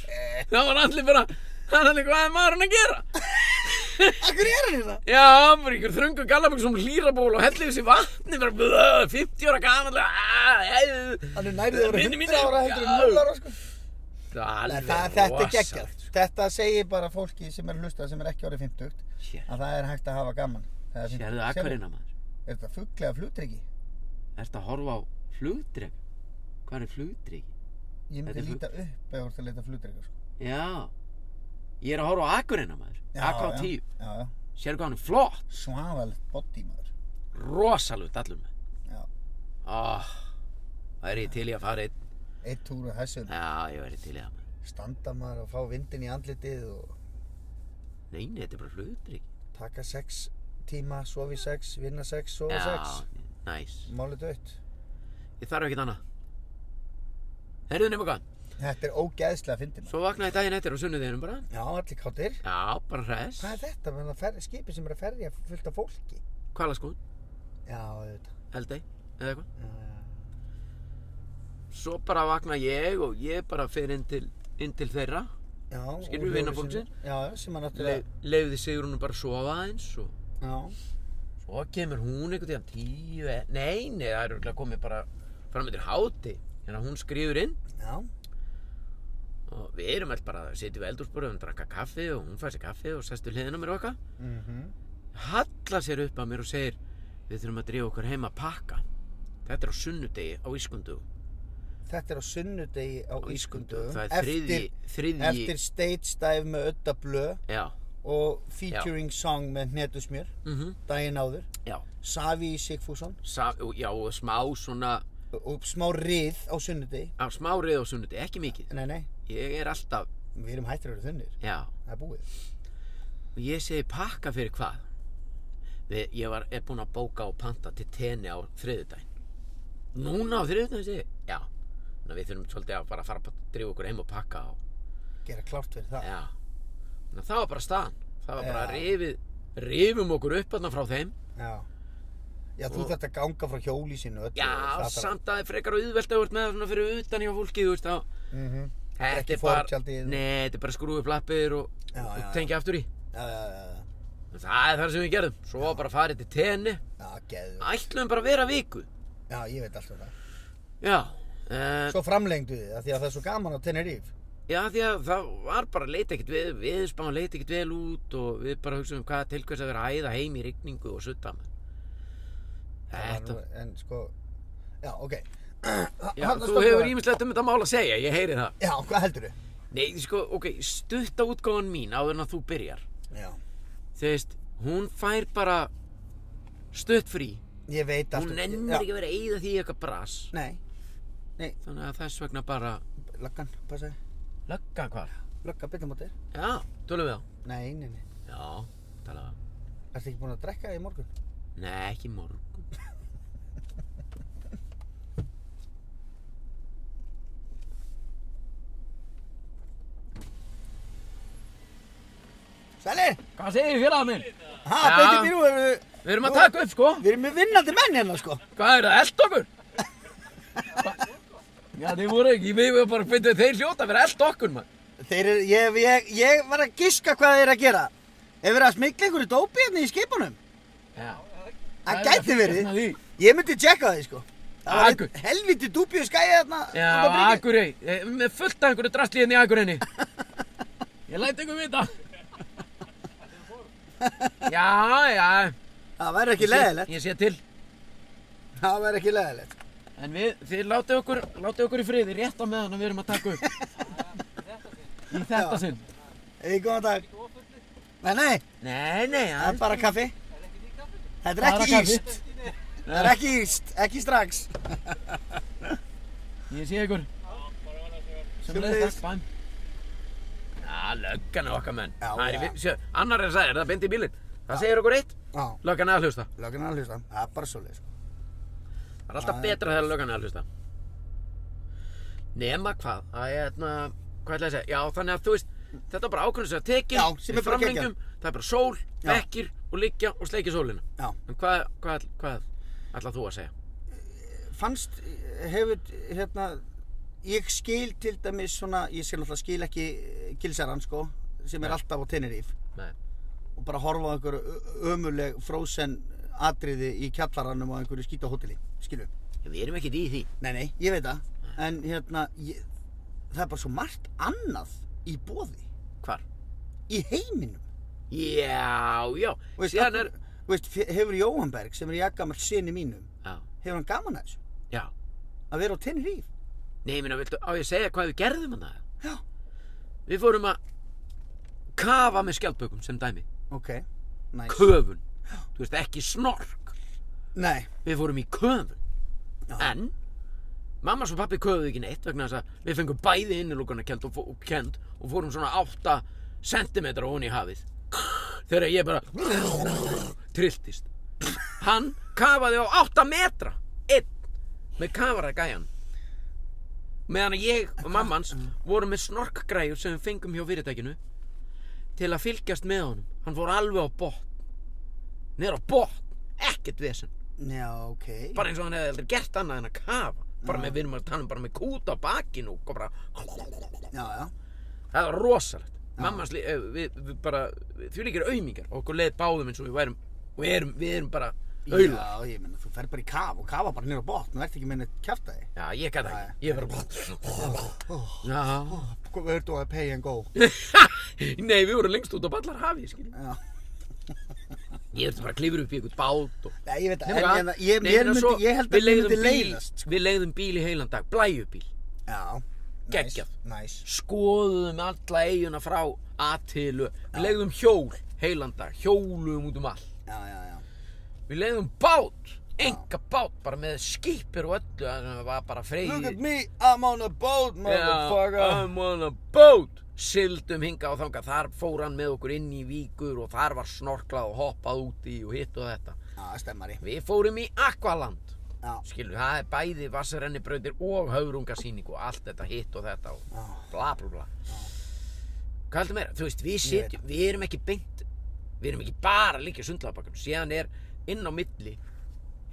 Speaker 2: Það var allir bara Það er allir hvað er maðurinn að gera
Speaker 1: Akkur er hann hérna?
Speaker 2: Já, bara ykkur þröngu gallabögg sem hlýraból og hellið þessi vatni bara blö, 50 ára gaman
Speaker 1: Hann er nærið að vera 100
Speaker 2: Vinir mínir,
Speaker 1: ára,
Speaker 2: já.
Speaker 1: 100 0 ára sko
Speaker 2: Það
Speaker 1: Nei,
Speaker 2: er
Speaker 1: það,
Speaker 2: alveg
Speaker 1: þetta er geggjað.
Speaker 2: rosalegt sko.
Speaker 1: Þetta segir bara fólki sem er hlustað sem er ekki orðið 50
Speaker 2: Sér-
Speaker 1: að það er hægt að hafa gaman. Það er fínt.
Speaker 2: Sérðu
Speaker 1: Sérðu?
Speaker 2: akkurina maður
Speaker 1: Er þetta fugglega flugtryggi?
Speaker 2: Ertu að horfa á flugdreg? Hvað er flugdreg?
Speaker 1: Ég myndi
Speaker 2: Þetta er flug-
Speaker 1: líta upp ef þú ert að leita flugtryggi. Sko.
Speaker 2: Já, ég er að horfa á Akureyna maður
Speaker 1: Já,
Speaker 2: Akurá
Speaker 1: já.
Speaker 2: 10,
Speaker 1: Já, já.
Speaker 2: sérðu hvað hann er flott
Speaker 1: Svavalegt body maður.
Speaker 2: Rosalut allur með
Speaker 1: Já.
Speaker 2: oh, Það er ég til í að fara einn
Speaker 1: Eitt túr og þessu.
Speaker 2: Já, ég væri til í það maður
Speaker 1: Standa maður og fá vindin í andlitið og
Speaker 2: Nei, nei, þetta er bara flugdreg
Speaker 1: taka sex tíma, sofi sex, vinna sex, sofa
Speaker 2: Já,
Speaker 1: sex.
Speaker 2: næs
Speaker 1: Málið dött.
Speaker 2: Ég þarf ekkert annað Herðu nema hvað,
Speaker 1: Þetta er ógeðslega fyndið maður.
Speaker 2: svo vaknaði daginn eftir og sunnudeginum bara
Speaker 1: Já, allir káttir.
Speaker 2: Já, bara hress
Speaker 1: Hvað er þetta? Menn að fer- Skipið sem er að ferja fullt af fólki.
Speaker 2: Hvalaskún,
Speaker 1: Já, auðvitað.
Speaker 2: eldei, eða eitthvað
Speaker 1: Já, já, já.
Speaker 2: Svo bara vakna ég og ég bara fer inn til, inn til þeirra
Speaker 1: Já,
Speaker 2: Skilur
Speaker 1: og
Speaker 2: við
Speaker 1: Jóru
Speaker 2: vinafólksinn?
Speaker 1: sem- Já, já, sem að náttúrulega
Speaker 2: Le, Leifði Sigrúnu bara að sofa aðeins og
Speaker 1: Já,
Speaker 2: Svo kemur hún einhvern tíðan tíu, e- nei, nei, það er örugglega komið bara fram yfir háti. Hérna hún skrifur inn
Speaker 1: já,
Speaker 2: og við erum alltaf bara að sitja við eldúrsborðum og drakka kaffi og hún fær sér kaffi og sestu hliðina á mér og eitthvað.
Speaker 1: mhm
Speaker 2: Hallar sér upp að mér og segir, við þurfum að drífa okkur heim að pakka. Þetta er á sunnudegi á Ískundu.
Speaker 1: Þetta er á sunnudegi á Ískundu
Speaker 2: Það er þriðji, þriðji,
Speaker 1: eftir stage dive með Ödda Blö
Speaker 2: já,
Speaker 1: og featuring song með Hnetusmjör
Speaker 2: mhm,
Speaker 1: daginn áður
Speaker 2: já,
Speaker 1: Savi Sigfússon
Speaker 2: Sa, og- já, og smá svona,
Speaker 1: og smá rið á sunnudegi
Speaker 2: á smá reyð á sunnudegi, ekki mikið.
Speaker 1: Nei, nei,
Speaker 2: Ég er alltaf,
Speaker 1: við erum hættir að vera þunnir
Speaker 2: já,
Speaker 1: Það er búið
Speaker 2: og ég segi pakka fyrir hvað Við, ég var, er búinn að bóka og panta til tenni á þriðudaginn núna á þriðudaginn segi ég já, þannig að við þurfum svolítið að bara fara að drífa okkur heim og pakka og,
Speaker 1: Gera klárt fyrir það
Speaker 2: já, þannig að það var bara staðan það var bara
Speaker 1: Já.
Speaker 2: rifið rifum okkur upp þarna frá þeim
Speaker 1: Já, já þú
Speaker 2: Og-
Speaker 1: þarft að ganga frá hjóli sínu öllu
Speaker 2: já,
Speaker 1: og það þarf-
Speaker 2: samt að það er frekar auðvelt að þú ert með það svona fyrir utan hjá fólki þú veist þá
Speaker 1: Mhm.
Speaker 2: Þetta
Speaker 1: Ekki
Speaker 2: er bara,
Speaker 1: fortjaldið.
Speaker 2: nei, þetta er bara skrúið plappir og,
Speaker 1: Já,
Speaker 2: og
Speaker 1: já,
Speaker 2: tengja aftur í
Speaker 1: Já, já, já, já.
Speaker 2: En Það er það sem við gerðum Svo bara farið til tenni
Speaker 1: Já, geðu
Speaker 2: Ætlum bara að vera viku
Speaker 1: Já, ég veit alltaf það
Speaker 2: Já en,
Speaker 1: Svo framlengdu þið af því að það er svo gaman á Tenerife.
Speaker 2: Já, því að það var bara leit ekkert við, viðspán leit ekkert vel út og við bara hugsaum hvað til hvers að vera að æða heim í rigningu og sutta með.
Speaker 1: Það var
Speaker 2: Þetta,
Speaker 1: nú- En sko, já, ok.
Speaker 2: já,
Speaker 1: Þarna
Speaker 2: þú
Speaker 1: stoppum
Speaker 2: hefur
Speaker 1: við.
Speaker 2: ímislegt um þetta mál að segja, ég heyri það.
Speaker 1: Já, hvað heldur þið?
Speaker 2: Nei, sko, ok, stutta útgáfan mín áður en að þú byrjar.
Speaker 1: Já.
Speaker 2: Þú veist, hún fær bara stutt frí.
Speaker 1: Ég veit allt.
Speaker 2: Hún nennir ekki að vera að eyða því í eitthvað bras.
Speaker 1: Nei,
Speaker 2: Þannig að þess vegna bara
Speaker 1: löggan, passaði.
Speaker 2: lögga hvar.
Speaker 1: Lögga, byrja mótið.
Speaker 2: Já, tölum við á.
Speaker 1: Nei, nei, nei.
Speaker 2: Já, talaðu.
Speaker 1: Ertu ekki búin að drekka í morgun?
Speaker 2: Nei, ekki í morgun.
Speaker 1: Sælir!
Speaker 2: Hvað segir félagar minn?
Speaker 1: Ha,
Speaker 2: Já.
Speaker 1: betur býrú, erum við...
Speaker 2: Við erum að taka upp sko.
Speaker 1: Við erum með vinnandi menn hérna, sko.
Speaker 2: Hvað er það, eld okkur? Já, þeir voru ekki, við vorum bara að finna þeir hljóta að vera eld okkur, mann.
Speaker 1: Þeir eru, ég, ég, ég var að giska hvað þeir eru að gera. Hefur verið að smikla einhverju dópi hérna í skipunum?
Speaker 2: Já.
Speaker 1: Það
Speaker 2: er
Speaker 1: gæti
Speaker 2: að
Speaker 1: verið.
Speaker 2: frétta því.
Speaker 1: Ég myndi tjekka því, sko. Það var
Speaker 2: Akur.
Speaker 1: einn helviti dúpi í skæði hérna.
Speaker 2: Já,
Speaker 1: á Bríki.
Speaker 2: Akurey, eh, með fullt af einhverju drastlíðin í Akureyni. Ég læti ykkur vita. Já, já.
Speaker 1: Það væri ekki leðilegt.
Speaker 2: Ég sé til.
Speaker 1: Það væri ekki leðilegt.
Speaker 2: En við, þið látið okkur, látið okkur í friði rétt á meðan að við erum að taka upp. Í þetta
Speaker 1: Já.
Speaker 2: sinn.
Speaker 1: Eða góðan dag. Nei, nei,
Speaker 2: Nei, nei,
Speaker 1: það er
Speaker 2: já.
Speaker 1: bara kaffi. Þetta er
Speaker 2: Bara
Speaker 1: ekki
Speaker 2: kaffi.
Speaker 1: íst. Það er ekki íst, ekki strax.
Speaker 2: Ég sé ykkur. Sem leiðið
Speaker 1: Sömuleiðis.
Speaker 2: takk, bæm. Já, löggan er okkar menn.
Speaker 1: Já,
Speaker 2: það er í
Speaker 1: já.
Speaker 2: vi- sjö, annar er að segja, er það bindi í bílinn. Það segir okkur eitt,
Speaker 1: Já,
Speaker 2: löggan er að hlusta.
Speaker 1: löggan er að hlusta. Það er bara svolítið, sko.
Speaker 2: Það er alltaf betra þegar löggan er að hlusta. Nema hvað, það er hérna, hvað ætla ég að segja? Já, þannig að þú veist, þetta er bara ákveðin sem að tekið,
Speaker 1: Já, sem
Speaker 2: við
Speaker 1: er bara geggjað.
Speaker 2: framlengjum, það er bara sól,
Speaker 1: Já.
Speaker 2: bekkir og liggja og sleikja sólina.
Speaker 1: Já.
Speaker 2: En hvað, hvað, hvað ætla þú að segja?
Speaker 1: fannst, hefur, hérna, ég skil til dæmis svona, ég skil náttúrulega skil ekki gilsarann, sko, sem er
Speaker 2: Nei.
Speaker 1: alltaf á Tenerife
Speaker 2: Nei.
Speaker 1: og bara horfa á einhver ö- ömurleg frozen atriði í kjallaranum á einhverju skýta hóteli, skilu.
Speaker 2: Við erum ekkert í því.
Speaker 1: Nei, nei, ég veit það, en hérna, ég, það er bara svo margt annað í boði,
Speaker 2: Hvar?
Speaker 1: í heiminum.
Speaker 2: Já, já.
Speaker 1: Þú Veist,
Speaker 2: Síðan
Speaker 1: af-
Speaker 2: er...
Speaker 1: þú veist, fe- hefur Jóhanberg, sem er í aggamall sinni mínum,
Speaker 2: Já,
Speaker 1: hefur hann gaman að þessu,
Speaker 2: já.
Speaker 1: að vera á Tenerife?
Speaker 2: Nei, ég meina, viltu, á ég að segja hvað við gerðum hann það?
Speaker 1: Já.
Speaker 2: Við fórum að kafa með skjaldbökum sem dæmi.
Speaker 1: Ok, næs.
Speaker 2: Köfun. Þú veist, ekki snork.
Speaker 1: Nei,
Speaker 2: Við fórum í köfun.
Speaker 1: Já.
Speaker 2: En, mamma og pappi köfuðu ekki neitt vegna þess að við fengum bæði innilokana kent og, fó- og kent og fórum svona 8 cm ofan í hafið. Þegar ég bara trilltist. Hann kafaði á 8 metra. Einn. Með kafara gæjan. meðan að ég og mamma hans vorum með snorkgræjur sem við fengum hjá fyrirtækinu til að fylgjast með honum hann fór alveg á botn niður á botn, ekkert vesen
Speaker 1: já, ok.
Speaker 2: bara eins og hann hefði aldrei gert annað en að kafa bara
Speaker 1: Já.
Speaker 2: með, við erum að tala um bara með kút á bakinu og bara,
Speaker 1: Já, já.
Speaker 2: það var rosalegt mamma hans, lí- eh, við, við bara því líkir aumingar og okkur leið báðum eins og við værum við erum, við erum bara auðla
Speaker 1: Já, ég meina, þú fer bara í kaf og kafa bara niður á botn og ert ekki með neitt kjæft að
Speaker 2: já, ég gæti
Speaker 1: Já, já.
Speaker 2: ekki, ég verður
Speaker 1: því.
Speaker 2: já,
Speaker 1: Við ertu að pay and go.
Speaker 2: nei, við vorum lengst út á ballar hafið, skilji
Speaker 1: Já.
Speaker 2: Ég þurfti bara að klifra upp í einhvern bát og...
Speaker 1: Nei, ég veit það,
Speaker 2: Nema
Speaker 1: en ég, ég,
Speaker 2: hvað? Nei,
Speaker 1: ég,
Speaker 2: meina
Speaker 1: myndi,
Speaker 2: svo,
Speaker 1: ég held
Speaker 2: við
Speaker 1: að ég myndi sko.
Speaker 2: leigðum bíl-
Speaker 1: leiðast.
Speaker 2: Við leiðum bíl í heilan dag, blæjubíl
Speaker 1: Já.
Speaker 2: Geggjað.
Speaker 1: Næs. Nice.
Speaker 2: Skoðum alla eiguna frá A-tilu Við leiðum hjól heilan dag, hjólum út um all
Speaker 1: Já, já, já.
Speaker 2: Við leiðum bát, enga bát, bara með skipir og öllu Það var
Speaker 1: Look
Speaker 2: bara
Speaker 1: at
Speaker 2: freyði
Speaker 1: me, I'm on a boat,
Speaker 2: Já,
Speaker 1: motherfucker.
Speaker 2: I'm on a boat Sildum hinga og þangað, þar fór hann með okkur inn í víkur og þar var snorklað og hoppað úti og hitt og þetta
Speaker 1: Já, stemmari.
Speaker 2: Við fórum í Aqualand
Speaker 1: Já.
Speaker 2: skilur, það er bæði vassrennibrautir og höfrungasýning og allt þetta hitt og þetta og
Speaker 1: Já.
Speaker 2: bla bla bla hvað heldur meira, þú veist, við sitjum við erum ekki beint, við erum ekki bara líka sundlaðabakkanum, síðan er inn á milli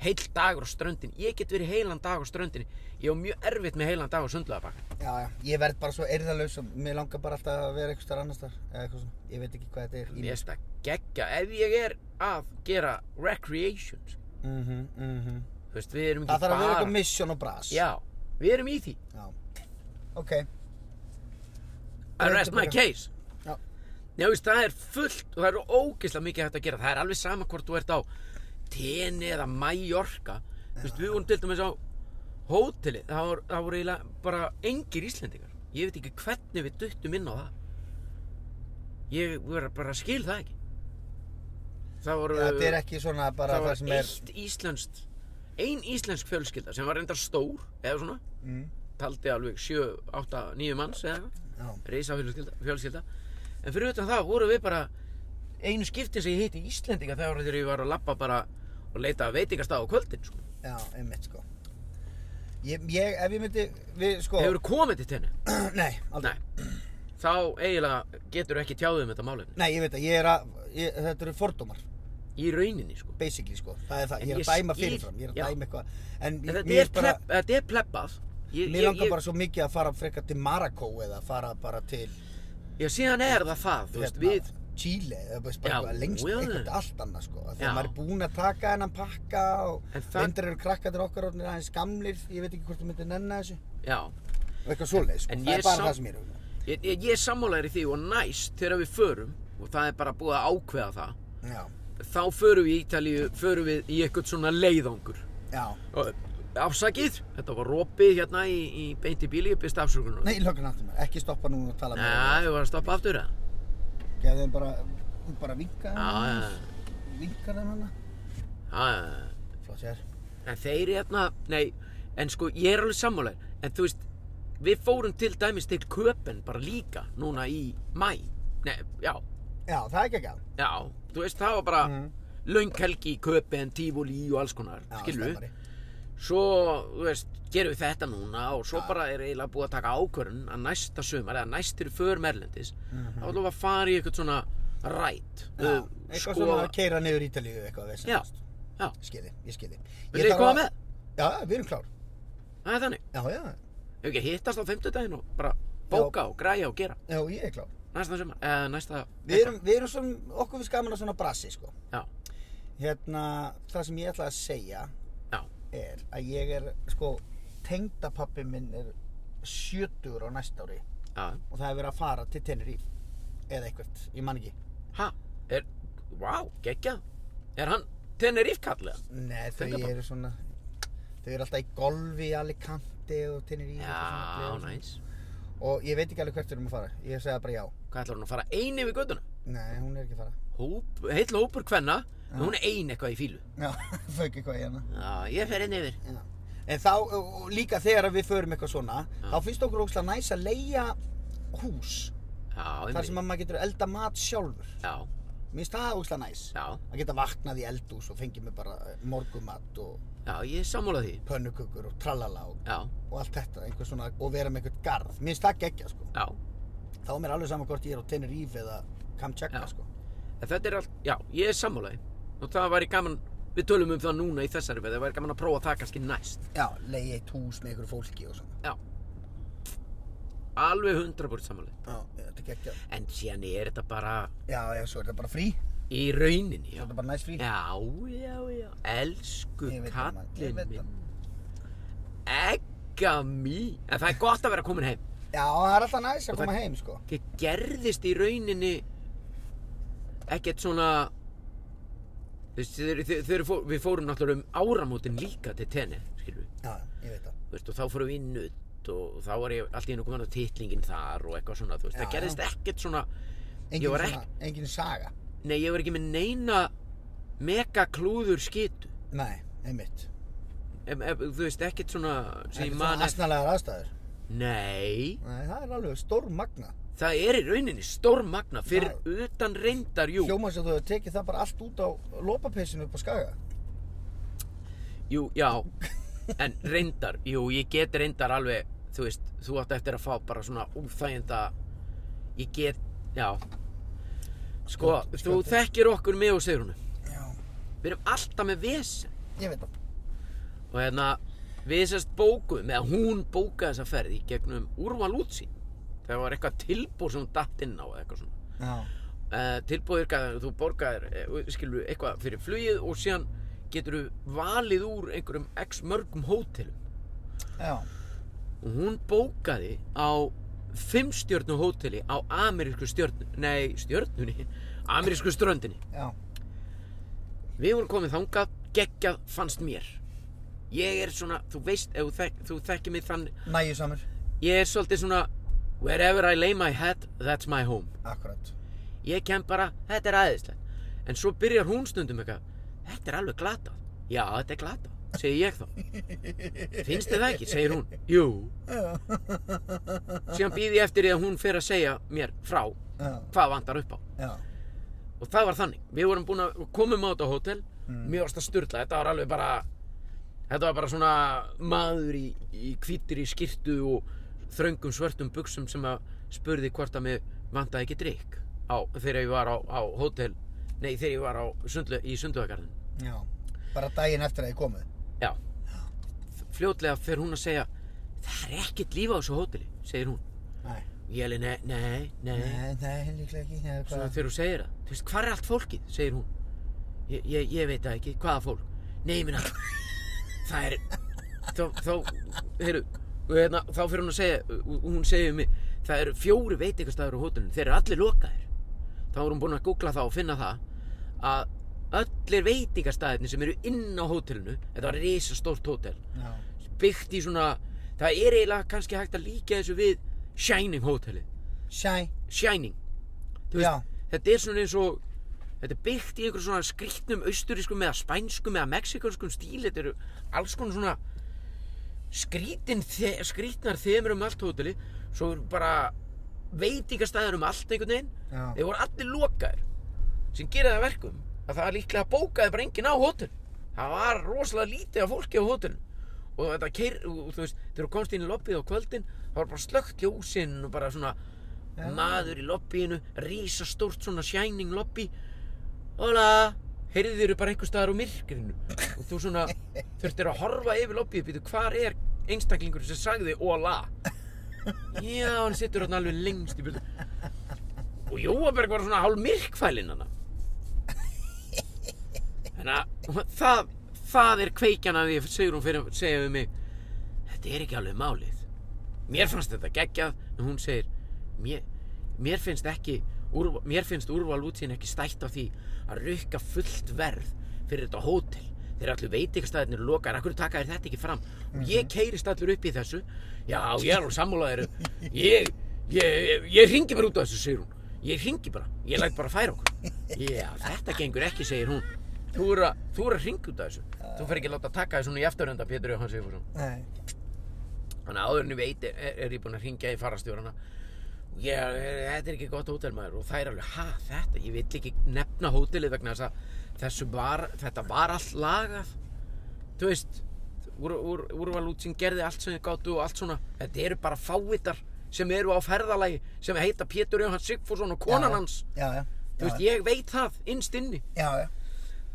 Speaker 2: heil dagur á ströndin ég get verið heilan dag á ströndin ég á mjög erfitt með heilan dag á sundlaðabakkan
Speaker 1: Já, já. Ég verð bara svo erðalaus og mér langar bara alltaf að vera eitthvað annars þar. Eða eitthvað svona. Ég veit ekki hvað þetta er. í
Speaker 2: ég
Speaker 1: mér.
Speaker 2: veist að gegja, ef ég er að gera recreations
Speaker 1: Mhm, mhm.
Speaker 2: þú veist, við erum
Speaker 1: Það
Speaker 2: ekki
Speaker 1: þarf að vera
Speaker 2: bara
Speaker 1: eitthvað mission og bras.
Speaker 2: já, við erum í því
Speaker 1: Já. Ok.
Speaker 2: I rest my case
Speaker 1: Já.
Speaker 2: Já, veist, það er fullt og það eru ógeðslega mikið hægt að gera það er alveg sama hvort þú ert á Teni eða Mallorca Þú veist, við vorum til dæmis á hóteli það voru, það voru eiginlega bara engir Íslendingar ég veit ekki hvernig við duttum inn á það ég var bara skil það ekki það voru
Speaker 1: Þetta er ekki svona bara
Speaker 2: það
Speaker 1: það,
Speaker 2: var
Speaker 1: sem er...
Speaker 2: eitt íslenskt ein íslensk fjölskylda sem var reyndar stór eða svona,
Speaker 1: Mm,
Speaker 2: taldi alveg 7, 8, 9 manns eða eitthvað,
Speaker 1: já,
Speaker 2: reisa fjölskylda, fjölskylda en fyrir utan það voru við bara einu skipti sem ég hitti Íslendinga þegar þegar ég var að labba bara og leita að veitingastað á kvöldin sko.
Speaker 1: já, einmitt sko. Ég, ég, ef ég myndi, við sko...
Speaker 2: hefur komið til tenni
Speaker 1: Nei, aldrei.
Speaker 2: Nei. þá eiginlega getur ekki tjáðum þetta málefni
Speaker 1: Nei, ég veit að ég er að, ég, þetta eru fordómar,
Speaker 2: í rauninni sko
Speaker 1: basically sko. Það er það,
Speaker 2: En
Speaker 1: ég er
Speaker 2: ég
Speaker 1: að dæma
Speaker 2: skil-
Speaker 1: fyrirfram, ég er að
Speaker 2: já.
Speaker 1: dæma eitthvað. En,
Speaker 2: en
Speaker 1: ég-
Speaker 2: þetta
Speaker 1: mér
Speaker 2: er, pleb, þetta er plebbað ég,
Speaker 1: Mér langar bara svo mikið að fara frekar til Marrakó eða fara bara til hérna,
Speaker 2: já, síðan er það það, þú veist, við
Speaker 1: Chile eða bara bara
Speaker 2: Já,
Speaker 1: eitthvað lengst
Speaker 2: well.
Speaker 1: eitthvað allt annað sko.
Speaker 2: Já.
Speaker 1: Þegar maður er búinn að taka hennan pakka og
Speaker 2: En það-
Speaker 1: reyndar eru krakkarnir okkar orðnir aðeins gamlir, ég veit ekki hvort þú myndir nenna þessu
Speaker 2: já,
Speaker 1: og eitthvað svoleiðis sko.
Speaker 2: En
Speaker 1: Það
Speaker 2: ég
Speaker 1: er bara
Speaker 2: sá-
Speaker 1: það sem ég er auðvitað.
Speaker 2: Ég, ég, ég er sammálaður í því og næst þegar við förum og það er bara búið að ákveða það
Speaker 1: Já,
Speaker 2: þá förum við í Ítalíu, förum við í eitthvað svona leiðangur
Speaker 1: já.
Speaker 2: og afsakið, þetta var ropið hérna í, í beinti bíli, ég byrst afsökunar
Speaker 1: Nei, löggan aftur maður, ekki stoppa núna og tala
Speaker 2: Nei, við varum að stoppa aftur eða?
Speaker 1: Gefðu þeim bara, bara vinka þeim
Speaker 2: Já, já,
Speaker 1: aðeins, vinkar þeim hana.
Speaker 2: já, já
Speaker 1: Flott sér.
Speaker 2: en þeir hérna, nei en sko, ég er alveg sammálaður en þú veist, við fórum til dæmis til Köpen bara líka, núna í mæ nei, já,
Speaker 1: Já, það er ekki ekki að.
Speaker 2: já þú veist, það var bara
Speaker 1: Mhm.
Speaker 2: lönghelgi í Köpen, Tífúli og alls konar
Speaker 1: Já,
Speaker 2: skilur
Speaker 1: stemmari.
Speaker 2: svo, þú veist, gerum við þetta núna og svo bara er eiginlega búið að taka ákvörðun að næsta sumar, eða næstir för merlendis, þá ætlum við að fara í eitthvað svona rætt
Speaker 1: Mhm. Já,
Speaker 2: uh,
Speaker 1: Eitthvað svona að keira niður Ítalíu eitthvað vesen.
Speaker 2: Já, já.
Speaker 1: Skilji, ég skilji.
Speaker 2: Viljið þið koma með?
Speaker 1: Já, já, við erum klár.
Speaker 2: Það er þannig,
Speaker 1: Já, já,
Speaker 2: hefur ekki hittast á fimmtudaginn og bara bóka og græja og gera
Speaker 1: já, ég er klár.
Speaker 2: næsta sumar, eða næsta
Speaker 1: Við erum, við erum svona, okkur við skaman að svona brasi, sko.
Speaker 2: Já,
Speaker 1: Hérna, það sem ég ætla að segja
Speaker 2: já,
Speaker 1: er að ég er, sko, tengdapappi minn er 70 á næsta ári
Speaker 2: já
Speaker 1: og það er verið að fara til Tenerife eða eitthvað, ég man ekki.
Speaker 2: Ha, er, wow, geggja Er hann Tenerife kallega?
Speaker 1: Nei, þau
Speaker 2: Tengdapabbi.
Speaker 1: eru svona, þau eru alltaf í golfi í Alicante og Tenerife. og svona
Speaker 2: Já,
Speaker 1: gleður svona.
Speaker 2: næs
Speaker 1: Og ég veit ekki alveg hvert við erum að fara, ég segja bara já.
Speaker 2: Hvað ætlar hún að fara einu við göttuna?
Speaker 1: Nei, hún er ekki að fara.
Speaker 2: Hóp, heill hópur hvenna, hún er ein eitthvað í fílu
Speaker 1: Já, fauk eitthvað í hérna.
Speaker 2: Já, ég fer inn yfir
Speaker 1: Já. En þá, og líka þegar við förum eitthvað svona, þá finnst okkur ógslag næs að leia hús.
Speaker 2: Já,
Speaker 1: Þar sem
Speaker 2: einmitt.
Speaker 1: að maður getur elda mat sjálfur.
Speaker 2: Já,
Speaker 1: Mér finnst það ógslag næs.
Speaker 2: já,
Speaker 1: Að geta vaknað í eldhús og fengið mér bara eh, morgumat og
Speaker 2: já, ég er sammálað því
Speaker 1: pönnukökur og tralala og,
Speaker 2: Já,
Speaker 1: og allt þetta. Einhver svona, og vera með einhvern garð. Mér finnst það geggja, sko.
Speaker 2: já,
Speaker 1: Þá er mér alveg saman hvort ég er á Tenerife eða Kamchatka,
Speaker 2: Já.
Speaker 1: sko.
Speaker 2: en þetta er allt, já, ég er sammálað því Og það væri gaman, við tölum um það núna í þessari veð Það væri gaman að prófa það kannski næst
Speaker 1: Já, leia eitt hús með einhverju fólki og svona.
Speaker 2: Já Alveg 100% sammálað
Speaker 1: Já, þetta er geggja.
Speaker 2: En síðan er þetta bara
Speaker 1: Já, já, svo er þetta bara frí. Svo
Speaker 2: í rauninni, já
Speaker 1: er þetta bara næs frí.
Speaker 2: Já, já, já, elsku
Speaker 1: Ég veit það, maður, ég
Speaker 2: kallinn
Speaker 1: veit
Speaker 2: minn
Speaker 1: það.
Speaker 2: Egga mý En það er gott að vera komin heim
Speaker 1: Já, það er alltaf næs að
Speaker 2: Og það-
Speaker 1: koma heim, sko.
Speaker 2: það gerðist í rauninni ekkert svona þú veist, þeir, þeir, þeir, fó- við fórum náttúrulega um áramótin líka til tenni skilur,
Speaker 1: Já, ég veit það.
Speaker 2: veist, og þá fórum við í nutt og þá var ég alltaf inn og komin á titlingin þar og eitthvað svona, þú veist,
Speaker 1: Já,
Speaker 2: það gerðist ekkert svona
Speaker 1: Engin,
Speaker 2: Ég var
Speaker 1: svona, engin saga.
Speaker 2: nei, ég var ekki með neina mega klúður skitu
Speaker 1: Nei, einmitt.
Speaker 2: ef, ef, þú veist, ekkert svona sem ég
Speaker 1: Ekkert
Speaker 2: man
Speaker 1: svona
Speaker 2: eftir
Speaker 1: asnalegar aðstæður.
Speaker 2: nei,
Speaker 1: Nei, það er alveg stór magna. það
Speaker 2: það er í rauninni stórmagna fyrir
Speaker 1: Það-
Speaker 2: utan reyndar, jú
Speaker 1: Hljóma sem þú hefur tekið það bara allt út á lopapessinu upp á skaga.
Speaker 2: Jú, já En reyndar, jú, ég get reyndar alveg Þú veist, þú átt eftir að fá bara svona úþæginda Ég get, já Sko,
Speaker 1: Skjótt-
Speaker 2: þú
Speaker 1: skjótt.
Speaker 2: þekkir okkur mig og Sigrunu
Speaker 1: Já.
Speaker 2: Við erum alltaf með vesen
Speaker 1: Ég veit það.
Speaker 2: Og hérna, við sérst bókuðum Eða hún bókaði þessa ferð í gegnum Úrval útsýn Það var eitthvað tilbúr sem hún datt inn á eða eitthvað svona
Speaker 1: Já.
Speaker 2: uh, tilbúðir gæðar, þú borgar skilur eitthvað fyrir flugið og síðan getur þú valið úr einhverjum x mörgum hótelum
Speaker 1: Já.
Speaker 2: og hún bókaði á fimm stjörnu hóteli á amerísku stjörnu, nei stjörnunni amerísku ströndinni
Speaker 1: Já.
Speaker 2: við vorum komið þangað, geggjað fannst mér ég er svona, þú veist ef þú, þek, þú þekkir mig þann
Speaker 1: Næju samur.
Speaker 2: ég er svolítið svona wherever I lay my head, that's my home
Speaker 1: Akkurat.
Speaker 2: ég kem bara, þetta er aðeinslega En svo byrjar hún stundum eitthvað, þetta er alveg glatað. Já, þetta er glatað, segi ég þá. Finnst þið það ekki, segir hún. Jú. Síðan býð ég eftir því að hún fer að segja mér frá
Speaker 1: já,
Speaker 2: hvað vantar upp á.
Speaker 1: já,
Speaker 2: Og það var þannig. Við vorum búin að komum á þetta hótel,
Speaker 1: Mm.
Speaker 2: mjög varst að styrla. Þetta var alveg bara, þetta var bara svona maður í, í hvítir í skyrtu og þröngum svörtum buksum sem að spurði hvort að mig vantaði ekki drikk á, þegar ég var á, á hótel, nei þegar ég var á sundlu, í sundluðagarðin.
Speaker 1: já. Bara daginn eftir að ég komið.
Speaker 2: Já. Fljótlega fer hún að segja, það er ekkert líf á þessu hóteli, segir hún.
Speaker 1: Nei.
Speaker 2: Ég heli, nei, nei, nei.
Speaker 1: Nei, nei, líklega ekki. Nei,
Speaker 2: Svona
Speaker 1: hvað?
Speaker 2: þegar þú segir það, þú veist, hvar er allt fólkið, segir hún. Ég, ég, ég veit það ekki, hvaða fólk? Nei, minna, það er, þá, þá, heyrðu, og hérna, þá fyrir hún að segja, og hún segir við mig, það eru fjóri veitingastæður á hótelinu, þeir eru allir lokaðir. Þá er hún búin að googla það og finna það að öllir veitingastæðirnir sem eru inn á hótelinu, þetta var risastórt hótel,
Speaker 1: Já,
Speaker 2: byggt í svona, það er eiginlega kannski hægt að líka þessu við Shining hótelið,
Speaker 1: Shine.
Speaker 2: Shining. Þú veist,
Speaker 1: Já,
Speaker 2: þetta er svona eins og þetta er byggt í einhverjum svona skrýtnum austurískum eða spænskum eða mexikanskum stíl þetta eru alls konar svona skrítin, þe skrýtnar þemur um allt hóteli svo eru bara veitingastæðar um allt einhvern veginn
Speaker 1: Já.
Speaker 2: þeir voru allir lokaðir sem gera það að verkum að það líklega bókaði bara enginn á hótel það var rosalega lítið af fólki á hótel og þetta keir, og þú veist þegar þú komst inn í lobbyið á kvöldin það var bara slögt ljósin og bara svona
Speaker 1: Já.
Speaker 2: maður í lobbyinu, risastórt svona shining lobby hola, heyrðið eru bara einhver staðar á myrkrinu og þú svona þurftir að horfa yfir lobbyið býtu hvar er einstaklingur sem sagði hola já, hann sittur hann alveg lengst í byrðu og Jóaberg var svona hálf myrkfælinn hana þannig að það, það er kveikjan að ég segur hún fyrir segja við mig þetta er ekki alveg málið mér fannst þetta geggjað en hún segir mér, mér finnst ekki úr, mér finnst úrval útsýn ekki stætt á því að rukka fullt verð fyrir þetta hótel þeir allir veitingastæðinir lokaðir, akkur taka þér þetta ekki fram og ég keirist allur upp í þessu já, ég er alveg sammálaðir ég, ég, ég, ég ringi bara út á þessu, segir hún ég ringi bara, ég læt bara færa okkur já, þetta gengur ekki, segir hún þú eru að, þú eru að ringi út á þessu þú fer ekki að láta taka þessu í eftirönda Pétur Jóhann Sigfússon
Speaker 1: nei.
Speaker 2: Þannig að áður en ég veit er, er ég búinn að hringja í farastjórana og ég, er- þetta er ekki gott hótel maður og það er alveg, ha þetta, ég vill ekki nefna hótelið vegna þess að þessu var, þetta var allt lagað þú veist úr, úr, úrvalútsinn gerði allt sem þið gáttu og allt svona, þetta eru bara fávitar sem eru á ferðalagi, sem heita Pétur Jóhann Sigfússon og konan
Speaker 1: Já,
Speaker 2: hans
Speaker 1: Já, já.
Speaker 2: þú veist, ég veit það, innst inni
Speaker 1: Já, já.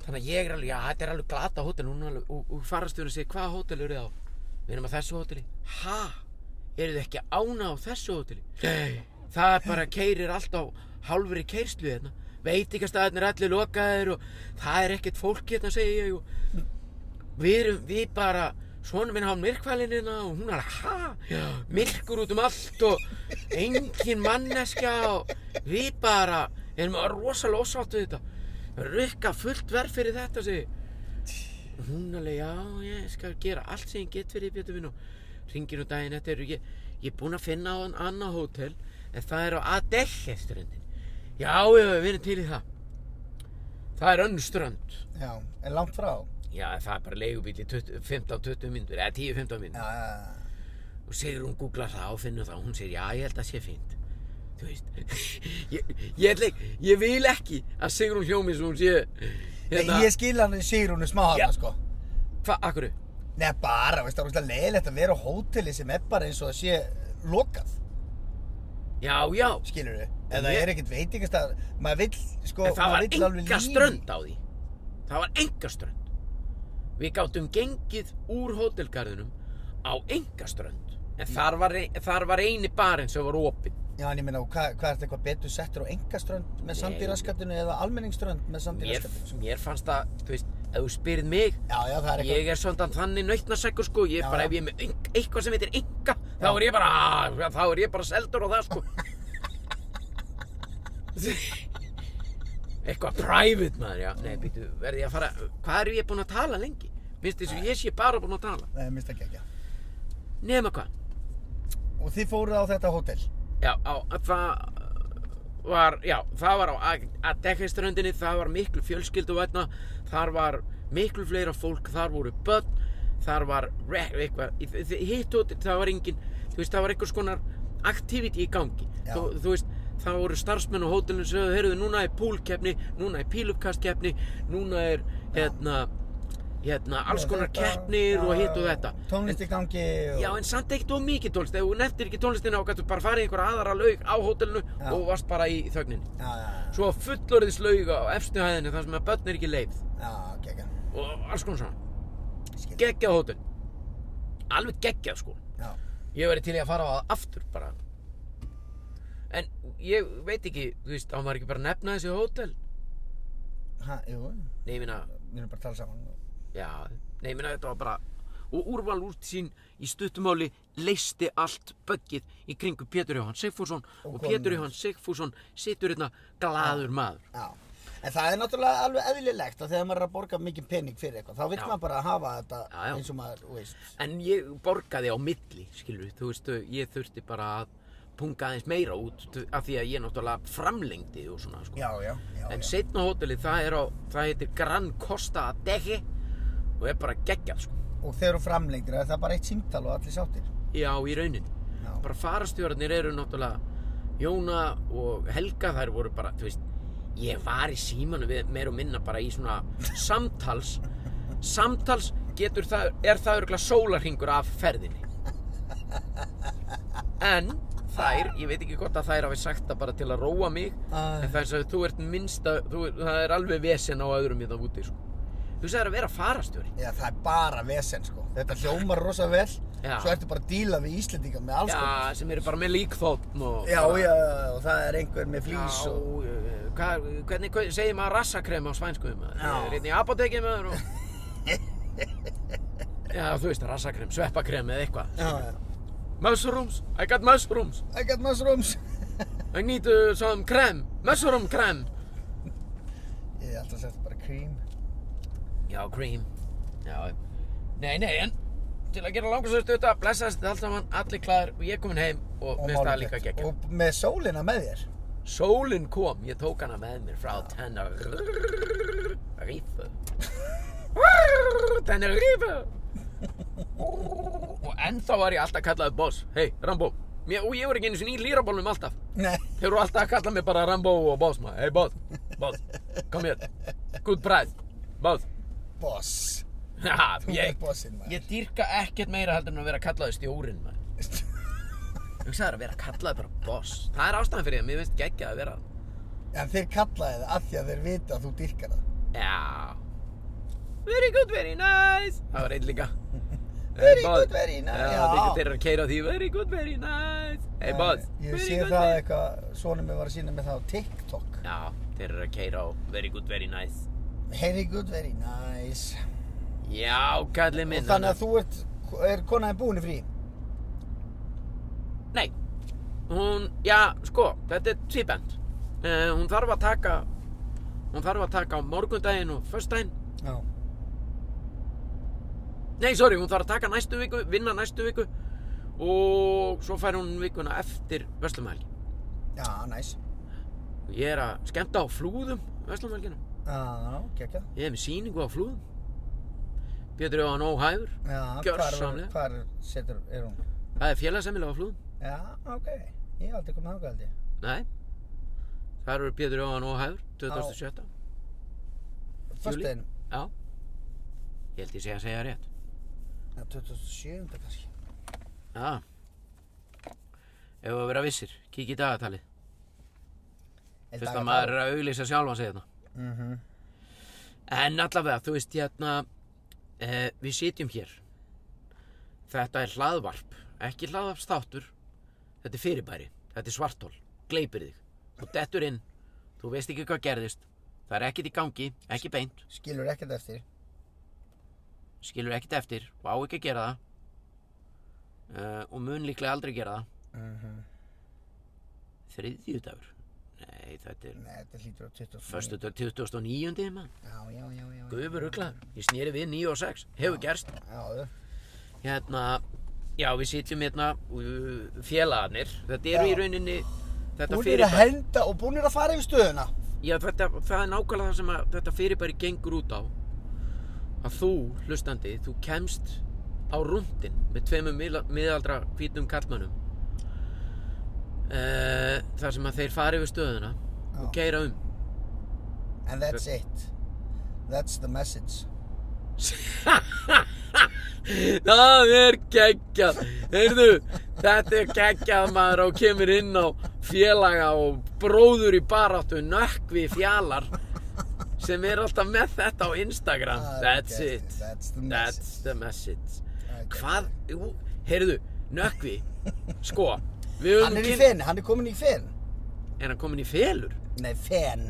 Speaker 2: þannig að ég er alveg, já, þetta er alveg glata hótel hún er alveg, og, og farastjóri segir, hvaða hótel eru þið á? Við erum á þessu hóteli Ha? Eru þið ekki ána á þessu hóteli? Nei Það er bara keirir allt á hálfri keirslu hérna Veit ekki að staðarnir allir lokaðir og það er ekkert fólk hérna, segi ég og við erum, við bara svona minn á myrkvælinina og hún er ha, myrkur út um allt og engin manneskja og við bara erum rosalega ósátt við þetta rukka fullt verð fyrir þetta segi ég. hún alveg, já, ég skal gera allt sem ég get fyrir Pétur minn og ringir um daginn eftir ég, ég er búinn að finna á hann annað hótel en það er á Adele ströndin já, já, við erum til í það það er önnur strönd
Speaker 1: Já, en langt frá.
Speaker 2: Já, það er bara leigubíl í 20 15-20 mínútur, eða 10-15
Speaker 1: Já,
Speaker 2: mínútur.
Speaker 1: já, já.
Speaker 2: Og segir hún, googlar það og finnur það og hún segir, já, ég held að sé fínt. Þú veist, ég, ég, ætla ekki, ég vil ekki að Sigrún hljómi sem hún sé,
Speaker 1: Nei,
Speaker 2: hérna,
Speaker 1: ég skil hann sigur hún smá
Speaker 2: Já.
Speaker 1: hana, sko.
Speaker 2: hvað, akkur,
Speaker 1: Nei, bara, veist, það er úrslega leiðilegt að vera á hóteli sem er bara eins og það sé lokað,
Speaker 2: já, já,
Speaker 1: skilur við. En það
Speaker 2: Ég-
Speaker 1: er ekkert veitingast að, maður vill, sko,
Speaker 2: en það
Speaker 1: maður
Speaker 2: var
Speaker 1: vill alveg
Speaker 2: enga
Speaker 1: líf í-
Speaker 2: strönd á því. Það var enga strönd. Við gátum gengið úr hótelgarðinum á enga strönd. En þar var, ein- þar var eini barinn sem var opinn.
Speaker 1: Já, en ég meina, og hvað hva er þetta eitthvað betur settur á engaströnd með sandi
Speaker 2: Nei.
Speaker 1: í raskatinu eða almenningströnd með sandi í
Speaker 2: Mér,
Speaker 1: raskatinu? sko?
Speaker 2: mér fannst það, þú veist, ef þú spyrð mig,
Speaker 1: Já, já, það er eitthvað,
Speaker 2: Ég er svolítið þannig nautnasekkur sko, ég er
Speaker 1: Já, já.
Speaker 2: bara ef ég er með ein- eitthvað sem heitir enga, þá er ég bara, "Ah, þá er ég bara seldur á það sko. Eitthvað private maður, já, nei, býtu, verði ég að fara, hvað er ég búinn að tala lengi? Minnst þess að ég sé bara búinn að tala.
Speaker 1: Nei, minnst ekki ekki.
Speaker 2: Nefna hvað?
Speaker 1: Og þið fóruð á þetta hótel?
Speaker 2: Já, á, það, var, já, það var á Adekiströndinni, það var miklu fjölskyldu vegna, þar var miklu fleira fólk, þar voru börn, þar var re- eitthvað, í- þi- þi- hitt og það var engin, þú veist, það var einhvers konar activity í gangi,
Speaker 5: Já.
Speaker 2: þú, þú veist, það voru starfsmenn á hótelinu sem sagði, heyrðu, núna er púlkeppni, núna er pílupkastkeppni, núna er, hérna, hérna, alls konar keppnir og hitt og þetta. En-
Speaker 1: Tónlist í gangi og...
Speaker 2: Já, en samt ekkert of mikið tónlist. Ef þú nefndir ekki tónlistina þá gætu bara farið í einhverja aðra laug á hótelinu
Speaker 1: Já.
Speaker 2: og varst bara í þögninni.
Speaker 1: Já, já, já,
Speaker 2: Svo fullorðis laug á efstu hæðinni þar sem að börn er ekki leið
Speaker 1: já, geggja.
Speaker 2: og alls konar svona.
Speaker 1: Skil.
Speaker 2: Geggjað hótel. Alveg geggjað sko.
Speaker 1: Já,
Speaker 2: Ég hef verið til í að fara á það aftur bara. En ég veit ekki, þú veist, á maður ekki bara að nefna þessi hótel?
Speaker 1: hæ, jú,
Speaker 2: Nei, ég minna,
Speaker 1: við erum bara að tala saman.
Speaker 2: já, nei, ég minna þetta var bara og úrval úrt sín í stuttumáli leisti allt böggið í kringu Pétur Jóhann Sigfússon og,
Speaker 1: konuna
Speaker 2: Pétur
Speaker 1: hans.
Speaker 2: Jóhann Sigfússon situr hérna glaður maður
Speaker 1: Já, en það er náttúrulega alveg eðlilegt að þegar maður er að borga mikið pening fyrir eitthvað, þá vil
Speaker 2: Já.
Speaker 1: maður bara hafa þetta
Speaker 2: Já, já.
Speaker 1: eins og maður, þú veist.
Speaker 2: en ég borgaði á milli skilur, þú veistu, ég þurfti bara að punga aðeins meira út þú- af því að ég náttúrulega framlengdi og svona sko.
Speaker 1: Já, já, já,
Speaker 2: en
Speaker 1: já.
Speaker 2: setna hótelið það er á, það heitir Gran Costa að dekki og er bara geggjað sko.
Speaker 1: Og þegar þú framlengdir, það er það bara eitt símtal og allir sáttir.
Speaker 2: já, í rauninni
Speaker 1: Já,
Speaker 2: bara farastjórarnir eru náttúrulega Jóna og Helga þær voru bara, þú veist ég var í símanu við meir og minna bara í svona samtals samtals getur það, er það örgulega sólarhingur af ferðinni en þær, ég veit ekki hvort að þær hafi sagt það bara til að róa mig
Speaker 1: Æ.
Speaker 2: en það er að þú ert minnsta þú, það er alveg vesen á öðrum í það úti sko. þú veist það er að vera farastjóri
Speaker 1: já það er bara vesen, sko. Þetta hljómar rosa vel,
Speaker 2: Já.
Speaker 1: svo ertu bara að díla við Íslendinga með alls
Speaker 2: já,
Speaker 1: konar.
Speaker 2: sem eru bara með líkþóttn og
Speaker 1: sko. Já,
Speaker 2: bara-
Speaker 1: já, og það er einhver með flýs
Speaker 2: Já,
Speaker 1: og...
Speaker 2: eh, hvað, hvernig hvað- segir maður rassakrem á svænsku maður?
Speaker 1: Já.
Speaker 2: Ég er hérna í apotekið maður og... Já, þú veist, rassakrem, sveppakrem eða eitthvað.
Speaker 1: Já, já.
Speaker 2: Mushrooms, I got mushrooms,
Speaker 1: I got mushrooms.
Speaker 2: I need uh, some krem, mushroom krem.
Speaker 1: Ég er alltaf sett bara cream.
Speaker 2: Já, cream, já, nei, nei, en til að gera langarsöðstu þetta, blessaðist allt saman, allir klæðir og ég komin heim og mér staði líka
Speaker 1: málefnilegt.
Speaker 2: geggja.
Speaker 1: Og með sólina með þér.
Speaker 2: Sólinn kom, ég tók hana með mér frá Tenerife Tenerife Og ennþá var ég alltaf kallaði boss Hei, Rambo mér, Og ég var ekki einu sinni í lýrabólnum alltaf
Speaker 1: Nei,
Speaker 2: Þeir eru alltaf að kalla mig bara Rambo og boss maður Hei, boss, boss, kom hér Good price, boss
Speaker 1: boss.
Speaker 2: Ha,
Speaker 1: Þú
Speaker 2: ég,
Speaker 1: ert bossinn, maður.
Speaker 2: ég dýrka ekkert meira heldur en að vera kallaði stjórinn maður Hugsaður að vera kallaði bara boss Það er ástæðan fyrir því að mér finnst geggjað að vera það
Speaker 1: en þeir kallaði það af því að þeir vita að þú dyrkar það.
Speaker 2: Já Very good, very nice Það var einn líka
Speaker 1: Very good, very nice.
Speaker 2: Já, það er þeir eru að keira því Very good, very nice Hey, boss
Speaker 1: Eh, Ég
Speaker 2: Very
Speaker 1: sé
Speaker 2: good,
Speaker 1: það
Speaker 2: very-
Speaker 1: eitthvað, svona mér var að sína með það á TikTok.
Speaker 2: Já, þeir eru að keira á Very good, very nice
Speaker 1: Very good, very nice.
Speaker 2: Já, kallið minn
Speaker 1: Og þannig að þú ert, er konaðin búin í frí?
Speaker 2: Nei Hún, já, sko, þetta er tvíbend uh, Hún þarf að taka Hún þarf að taka á morgundaginn og föstudaginn
Speaker 1: Já.
Speaker 2: Nei, sorry, hún þarf að taka næstu viku, vinna næstu viku Og svo fær hún vikuna eftir Vestlumælgi
Speaker 1: Já, nice.
Speaker 2: Ég er að skemmta á flúðum Vestlumælginu
Speaker 1: Já, gekkja.
Speaker 2: Ég hef með sýningu á flúðum Pétur Jóhann óhæfur
Speaker 1: Já, hvar,
Speaker 2: Gjörsamlega.
Speaker 1: hvar setur, er hún?
Speaker 2: Það er félagsemilega á flúðum
Speaker 1: Já, ok. Ég hef aldrei komið ákvæðið held ég.
Speaker 2: Nei Það eru Pétur Jóhann óhæfur 2007
Speaker 1: Föstuðin,
Speaker 2: Já Ég held ég sé að segja rétt
Speaker 1: 27. kannski.
Speaker 2: Já Ef að vera vissir Kík í dagatalið
Speaker 1: Er
Speaker 2: Fyrst
Speaker 1: dagar
Speaker 2: að maður er að auglýsa sjálfan sig hérna
Speaker 1: þá? Mhm.
Speaker 2: En allavega, þú veist, hérna e, Við sitjum hér Þetta er hlaðvarp Ekki hlaðvarpstáttur Þetta er fyrirbæri, þetta er svartól Gleipir þig, þú dettur inn Þú veist ekki hvað gerðist Það er ekkert í gangi, ekki beint
Speaker 1: Skilur ekkert eftir.
Speaker 2: Skilur ekkert eftir og á ekki að gera það e, Og mun líklega aldrei gera það
Speaker 1: Mhm.
Speaker 2: Þriðjudagur Nei, þetta er
Speaker 1: Nei, þetta hlýtur á 20.
Speaker 2: Föstudag 2009. maður.
Speaker 1: Já, já, já, já. já.
Speaker 2: Guður rugglaður, ég snýri við 9 og 6 Hefur gerst
Speaker 1: Já, þú.
Speaker 2: hérna, já við sitjum hérna uh, félagarnir, þetta eru
Speaker 1: Já.
Speaker 2: í rauninni þetta
Speaker 1: Búnir að
Speaker 2: fyrirbæri
Speaker 1: henda og búnir að fara yfir stöðuna.
Speaker 2: Já, þetta, það er nákvæmlega það sem að þetta fyrirbæri gengur út á að þú, hlustandi, þú kemst á rúndin með tveimum miðla- miðaldra hvítum kallmönnum uh, þar sem að þeir fari yfir stöðuna og
Speaker 1: Já.
Speaker 2: keira um
Speaker 1: And that's it. That's the message.
Speaker 2: Það er geggjað Heyrðu, þetta er geggjað maður og kemur inn á félaga og bróður í baráttu nökkvi fjalar sem er alltaf með þetta á Instagram
Speaker 1: Það er
Speaker 2: Ah, That's
Speaker 1: geggjað.
Speaker 2: it
Speaker 1: Ah, That's the
Speaker 2: That's
Speaker 1: message.
Speaker 2: the message.
Speaker 1: Það er
Speaker 2: Hvað, jú, heyrðu, nökkvi Sko, við höfum
Speaker 1: Hann er í
Speaker 2: kyn-
Speaker 1: fenn, hann er komin í fenn.
Speaker 2: Er hann komin í felur?
Speaker 1: Nei, fenn.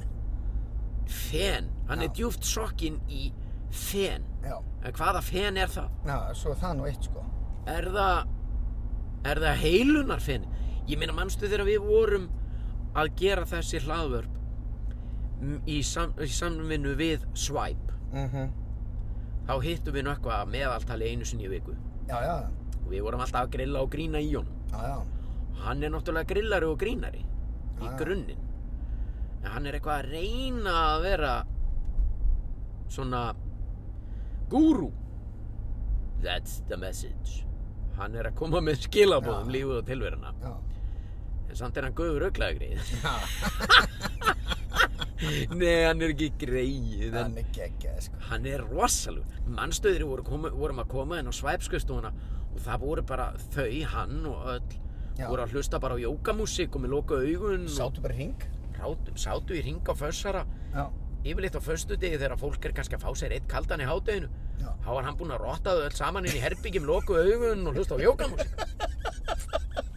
Speaker 2: Fen, hann er
Speaker 1: Já.
Speaker 2: djúft sokkinn í fen
Speaker 1: Já,
Speaker 2: En hvaða fen er það?
Speaker 1: já, svo er það nú eitt sko.
Speaker 2: er það er það heilunarfinn ég meina mannstu þegar við vorum að gera þessi hlaðvörp m- í, sam, í samvinnu við Swipe
Speaker 1: Mm
Speaker 2: Mhm. þá hittum við nökkva að meðaltali einu sinni í viku
Speaker 1: Já, já,
Speaker 2: og við vorum alltaf að grilla og grína í honum
Speaker 1: já, já.
Speaker 2: og hann er náttúrulega grillari og grínari í
Speaker 1: Já, já.
Speaker 2: grunninn en hann er eitthvað að reyna að vera svona gúrú that's the message hann er að koma með skilabóð um
Speaker 1: Já.
Speaker 2: lífið og tilveruna
Speaker 1: já.
Speaker 2: en samt er hann guður auklaðagrið
Speaker 1: Ha,
Speaker 2: nei, hann er ekki greið
Speaker 1: Hann
Speaker 2: en
Speaker 1: er geggjað sko.
Speaker 2: hann er rosalug mannstöðir voru koma, vorum að koma inn á svæpskustuna og það voru bara þau, hann og öll
Speaker 1: Já.
Speaker 2: voru að hlusta bara á jókamúsík og með loka augun og
Speaker 1: Sáttu bara í hring.
Speaker 2: rátum, sátu í ringa fössara
Speaker 1: Já,
Speaker 2: yfirleitt á föstudegi þegar fólk er kannski að fá sér eitt kaldan í hádeginu
Speaker 1: já.
Speaker 2: þá var hann búinn að rotta þau öll saman inn í herbyggjum loku augun og hlusta á jókamúsík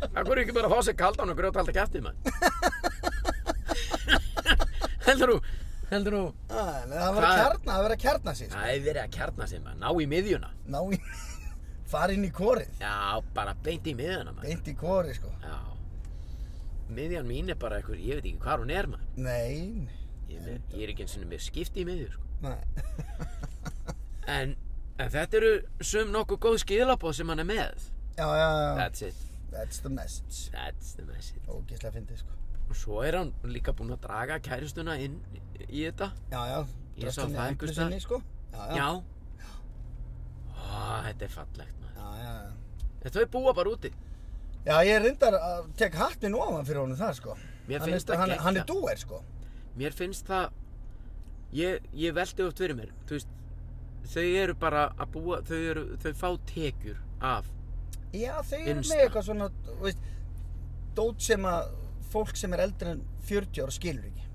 Speaker 2: það voru ekki bara að fá sér kaldan og grjóta alltaf kæftið maður heldur þú heldur þú
Speaker 1: Ah, en það var að
Speaker 2: Hvað- Ah.
Speaker 1: kjarna, það var að kjarna sér.
Speaker 2: það hefur verið að kjarna sig maður ná í miðjuna
Speaker 1: Ná í, fara inn í kórið.
Speaker 2: já bara beint í miðjuna maður
Speaker 1: Beint í kórið sko.
Speaker 2: já miðjan mín er bara einhver ég veit ekki hvar hún er maður
Speaker 1: Nei,
Speaker 2: ég, er með- ég er ekki eins og með skipti í miðju sko.
Speaker 1: nei.
Speaker 2: en, en þetta eru sum nokkuð góð skilabóð sem hann er með
Speaker 1: Já, já, já.
Speaker 2: that's it
Speaker 1: That's the message.
Speaker 2: that's the message
Speaker 1: Ógeðslega fyndið sko.
Speaker 2: og svo er hann líka búinn að draga kæristuna inn í þetta
Speaker 1: Já, já.
Speaker 2: Ég
Speaker 1: dröftinni
Speaker 2: sá það
Speaker 1: Emblu
Speaker 2: einhvers staðar.
Speaker 1: sinni, sko. Já, já.
Speaker 2: já Ó, þetta er fallegt maður
Speaker 1: Já, já, já.
Speaker 2: en þau búa bara úti
Speaker 1: Já, ég reyndar að tek hattinn ofan fyrir honum það, sko.
Speaker 2: Mér
Speaker 1: Hann
Speaker 2: finnst
Speaker 1: er-
Speaker 2: það
Speaker 1: hann,
Speaker 2: geggjað.
Speaker 1: hann er dúer, sko.
Speaker 2: mér finnst það ég, ég velti oft fyrir mér þú veist þau eru bara að búa þau, eru, þau fá tekjur af
Speaker 1: Já, þau eru
Speaker 2: Innsta.
Speaker 1: með eitthvað svona, þú veist, dót sem að fólk sem er eldri en 40 ára skilur ekki.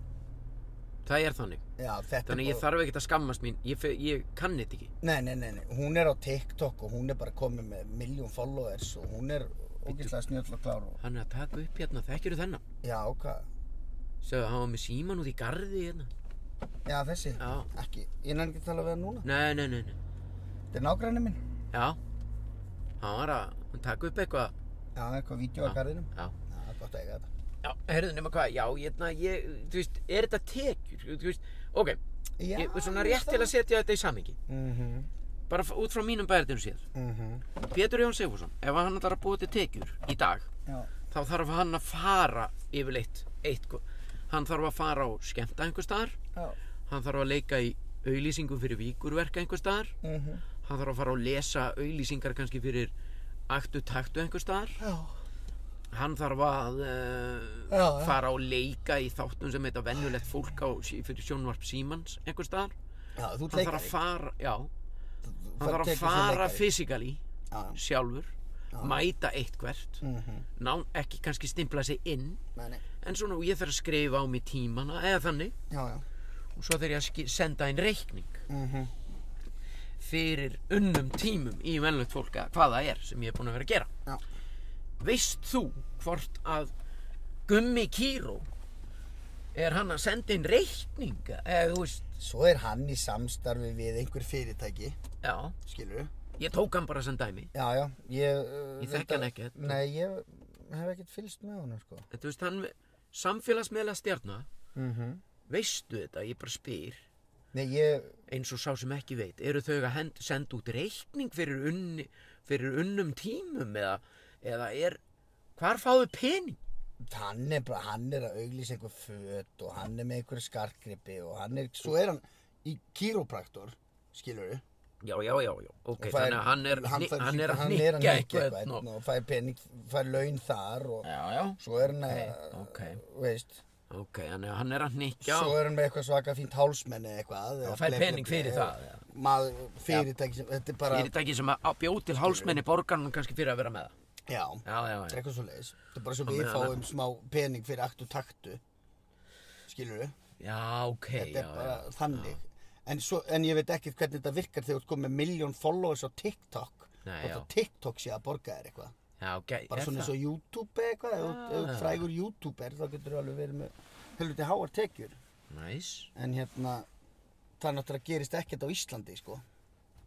Speaker 2: það er þannig
Speaker 1: Já, þetta
Speaker 2: þannig
Speaker 1: er
Speaker 2: að ég þarf ekkert að skammast mín ég, fe- ég kann þetta ekki
Speaker 1: Nei, nei, nei, nei, hún er á TikTok og hún er bara komið með miljón followers og hún er ógeðslega snjöll og klár og...
Speaker 2: hann er að taka upp hérna þekkjur þennan
Speaker 1: Já, hvað?
Speaker 2: svo hann var með síman út í garði hérna
Speaker 1: Já, þessi.
Speaker 2: já
Speaker 1: Ekki, ég nefnir ekki að tala við hann núna.
Speaker 2: nei nei nei, nei.
Speaker 1: Þetta er nágræni minn.
Speaker 2: já hann var að taka upp eitthvað
Speaker 1: Já, eitthvað vídeo
Speaker 2: Já.
Speaker 1: á garðinum.
Speaker 2: já
Speaker 1: Já, gott að eiga þetta.
Speaker 2: Já, heyrðu nema hvað, já, hérna, ég, þú veist, er þetta tekjur, þú veist, ok,
Speaker 1: Já,
Speaker 2: ég, svona rétt til að setja þetta í samingi,
Speaker 1: Mhm,
Speaker 2: bara f- út frá mínum bæðardinu séð.
Speaker 1: mhm,
Speaker 2: Pétur Jón Sigfússon, ef hann ætlar að búa til tekjur í dag,
Speaker 1: já.
Speaker 2: þá þarf hann að fara yfirleitt eitthvað, hann þarf að fara á skemmta einhver staðar,
Speaker 1: Já.
Speaker 2: hann þarf að leika í auðlýsingum fyrir víkurverka einhver staðar,
Speaker 1: Mhm.
Speaker 2: hann þarf að fara að lesa auðlýsingar kannski fyrir aktu taktu einhver staðar,
Speaker 1: Já.
Speaker 2: hann þarf að uh,
Speaker 1: Já, já.
Speaker 2: fara og leika í þáttum sem heita vennulegt fólk á, fyrir sjónvarp Símans einhver staðar
Speaker 1: Já, þú ert
Speaker 2: hann þarf að
Speaker 1: leikari.
Speaker 2: fara, já, hann
Speaker 1: Þú- þú- þú
Speaker 2: þarf að
Speaker 1: tekur sem
Speaker 2: fara
Speaker 1: leikari.
Speaker 2: fysikali
Speaker 1: Já, já.
Speaker 2: sjálfur mæta eitt hvert
Speaker 1: Mhm.
Speaker 2: ná, ekki kannski stimpla sig inn
Speaker 1: Nei, nei.
Speaker 2: en svona ég þarf að skrifa á mig tímana eða þannig
Speaker 1: Já, já.
Speaker 2: og svo þarf ég að ski- senda inn reikning
Speaker 1: Mhm.
Speaker 2: fyrir unnum tímum í vennulegt fólk að hvað það er sem ég er búin að vera að gera
Speaker 1: Já.
Speaker 2: veist þú hvort að Gummi Kíró er hann að senda inn reikninga eða þú veist,
Speaker 1: Svo er hann í samstarfi við einhver fyrirtæki,
Speaker 2: já
Speaker 1: skilur við?
Speaker 2: ég tók hann bara sem dæmi
Speaker 1: Já, já. Ég, uh,
Speaker 2: Ég þekki
Speaker 1: reyndar-
Speaker 2: hann ekkert.
Speaker 1: Nei, ég hef ekkert fylst með honum, sko.
Speaker 2: en þú veist, hann samfélagsmiðla stjarnar
Speaker 1: Mm -hmm.
Speaker 2: veistu þetta, ég bara spyr
Speaker 1: Nei, ég,
Speaker 2: eins og sá sem ekki veit, eru þau að hend, senda út reikning fyrir, unni, fyrir unnum tímum eða, eða er, hvar fáðu pening
Speaker 1: hann er bara, hann er að auglýsa einhver föt og hann er með einhverja skarkripi og hann er, svo er hann í kýrópraktor, skilur við
Speaker 2: Já, já, já, já, ok, þannig að hann er, hann, hann er að hnykkja eitthvað hérna.
Speaker 1: eitthvað
Speaker 2: og...
Speaker 1: og fær pening, fær laun þar og
Speaker 2: Já, já,
Speaker 1: svo er hann að,
Speaker 2: ok,
Speaker 1: veist,
Speaker 2: ok, þannig að hann er að hnykkja
Speaker 1: Eh, svo er hann með eitthvað svaka fínt hálsmenni eitthvað. eða
Speaker 2: og fær
Speaker 1: ble- ble-
Speaker 2: pening
Speaker 1: ble-
Speaker 2: fyrir það, já.
Speaker 1: Maður, fyrirtæki sem, þetta er bara,
Speaker 2: fyrirtæki sem að bjóð til hálsmenni borgarnum kannski fyrir að vera með það.
Speaker 1: já,
Speaker 2: Já, já, já,
Speaker 1: eitthvað svo leiðis. Þetta er bara svo
Speaker 2: Á
Speaker 1: við
Speaker 2: meðan að-
Speaker 1: fáum smá pening fyrir akt og taktu, skilur við.
Speaker 2: já, ok,
Speaker 1: þetta
Speaker 2: já,
Speaker 1: er
Speaker 2: já.
Speaker 1: bara þannig en, svo, en ég veit ekkert hvernig þetta virkar þegar þú ert komið með miljón followers á TikTok
Speaker 2: Nei,
Speaker 1: og
Speaker 2: já.
Speaker 1: þá TikTok sé að borga þér eitthvað
Speaker 2: Já, ok,
Speaker 1: bara
Speaker 2: er
Speaker 1: svona eins
Speaker 2: það?
Speaker 1: og YouTube eða eitthvað ef þú- ef þú
Speaker 2: Ah.
Speaker 1: ert frægur YouTuber þá getur þú alveg verið með helviti háar tekjur
Speaker 2: Næs,
Speaker 1: en hérna það er náttúrulega gerist ekkert á Íslandi sko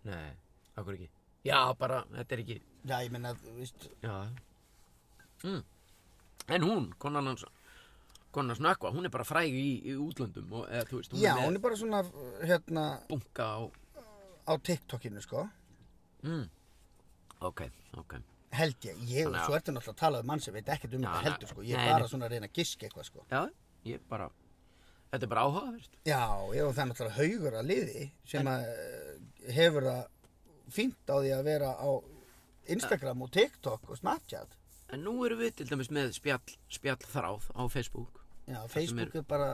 Speaker 2: nei, okkur ekki. Já, bara, þetta er ekki,
Speaker 1: já ég meina þú veist
Speaker 2: já. Mm. En hún, konan hans, konan snökkva, hún er bara fræg í, í útlöndum og, eða, þú veist, hún
Speaker 1: já
Speaker 2: er með
Speaker 1: hún er bara svona hérna
Speaker 2: bunka og,
Speaker 1: á TikTokinu sko
Speaker 2: mm. ok, ok.
Speaker 1: held ég, ég
Speaker 2: Þannig að-
Speaker 1: svo ertu náttúrulega að tala um mann sem veit ekkert um
Speaker 2: Já,
Speaker 1: þetta
Speaker 2: na-
Speaker 1: heldur sko ég
Speaker 2: nei,
Speaker 1: er bara
Speaker 2: nei.
Speaker 1: svona að reyna að giska eitthvað sko
Speaker 2: Já, ég bara, þetta er bara áhugavert.
Speaker 1: Já, já, og það er náttúrulega haugur að liði sem að eh, hefur það fínt á því að vera á Instagram og TikTok og Snapchat.
Speaker 2: En nú erum við til dæmis með spjall, spjall þráð á Facebook.
Speaker 1: Já, Facebook er bara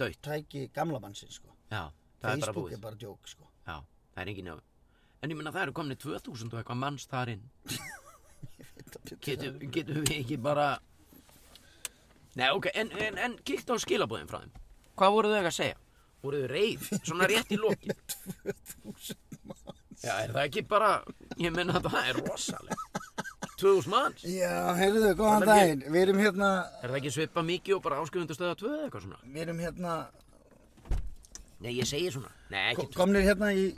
Speaker 2: Döitt,
Speaker 1: tæki gamla mannsins, sko.
Speaker 2: já, það er bara
Speaker 1: Facebook
Speaker 2: búið.
Speaker 1: er bara djók, sko.
Speaker 2: Já, það er engin nefn. En ég meina það eru komni 2000 og eitthvað manns þar inn. Getum getu við ekki bara... Nei, ok, en, en, en kíkt á skilabóðin frá þeim. Hvað voru þau ekki að segja? Voru þau reið, svona rétt í lokin?
Speaker 1: 2000 manns.
Speaker 2: Já, er það ekki bara... Ég meina það er rosalega. 2000 manns?
Speaker 1: Já, heyrðu, góðan
Speaker 2: Þannig að
Speaker 1: daginn. Við erum hérna,
Speaker 2: Er það ekki svipa mikið og bara áskrifundarstöða 2 eða eitthvað svona?
Speaker 1: við erum hérna,
Speaker 2: Nei, ég segi svona. Nei,
Speaker 1: ko-
Speaker 2: ekki...
Speaker 1: komnir hérna í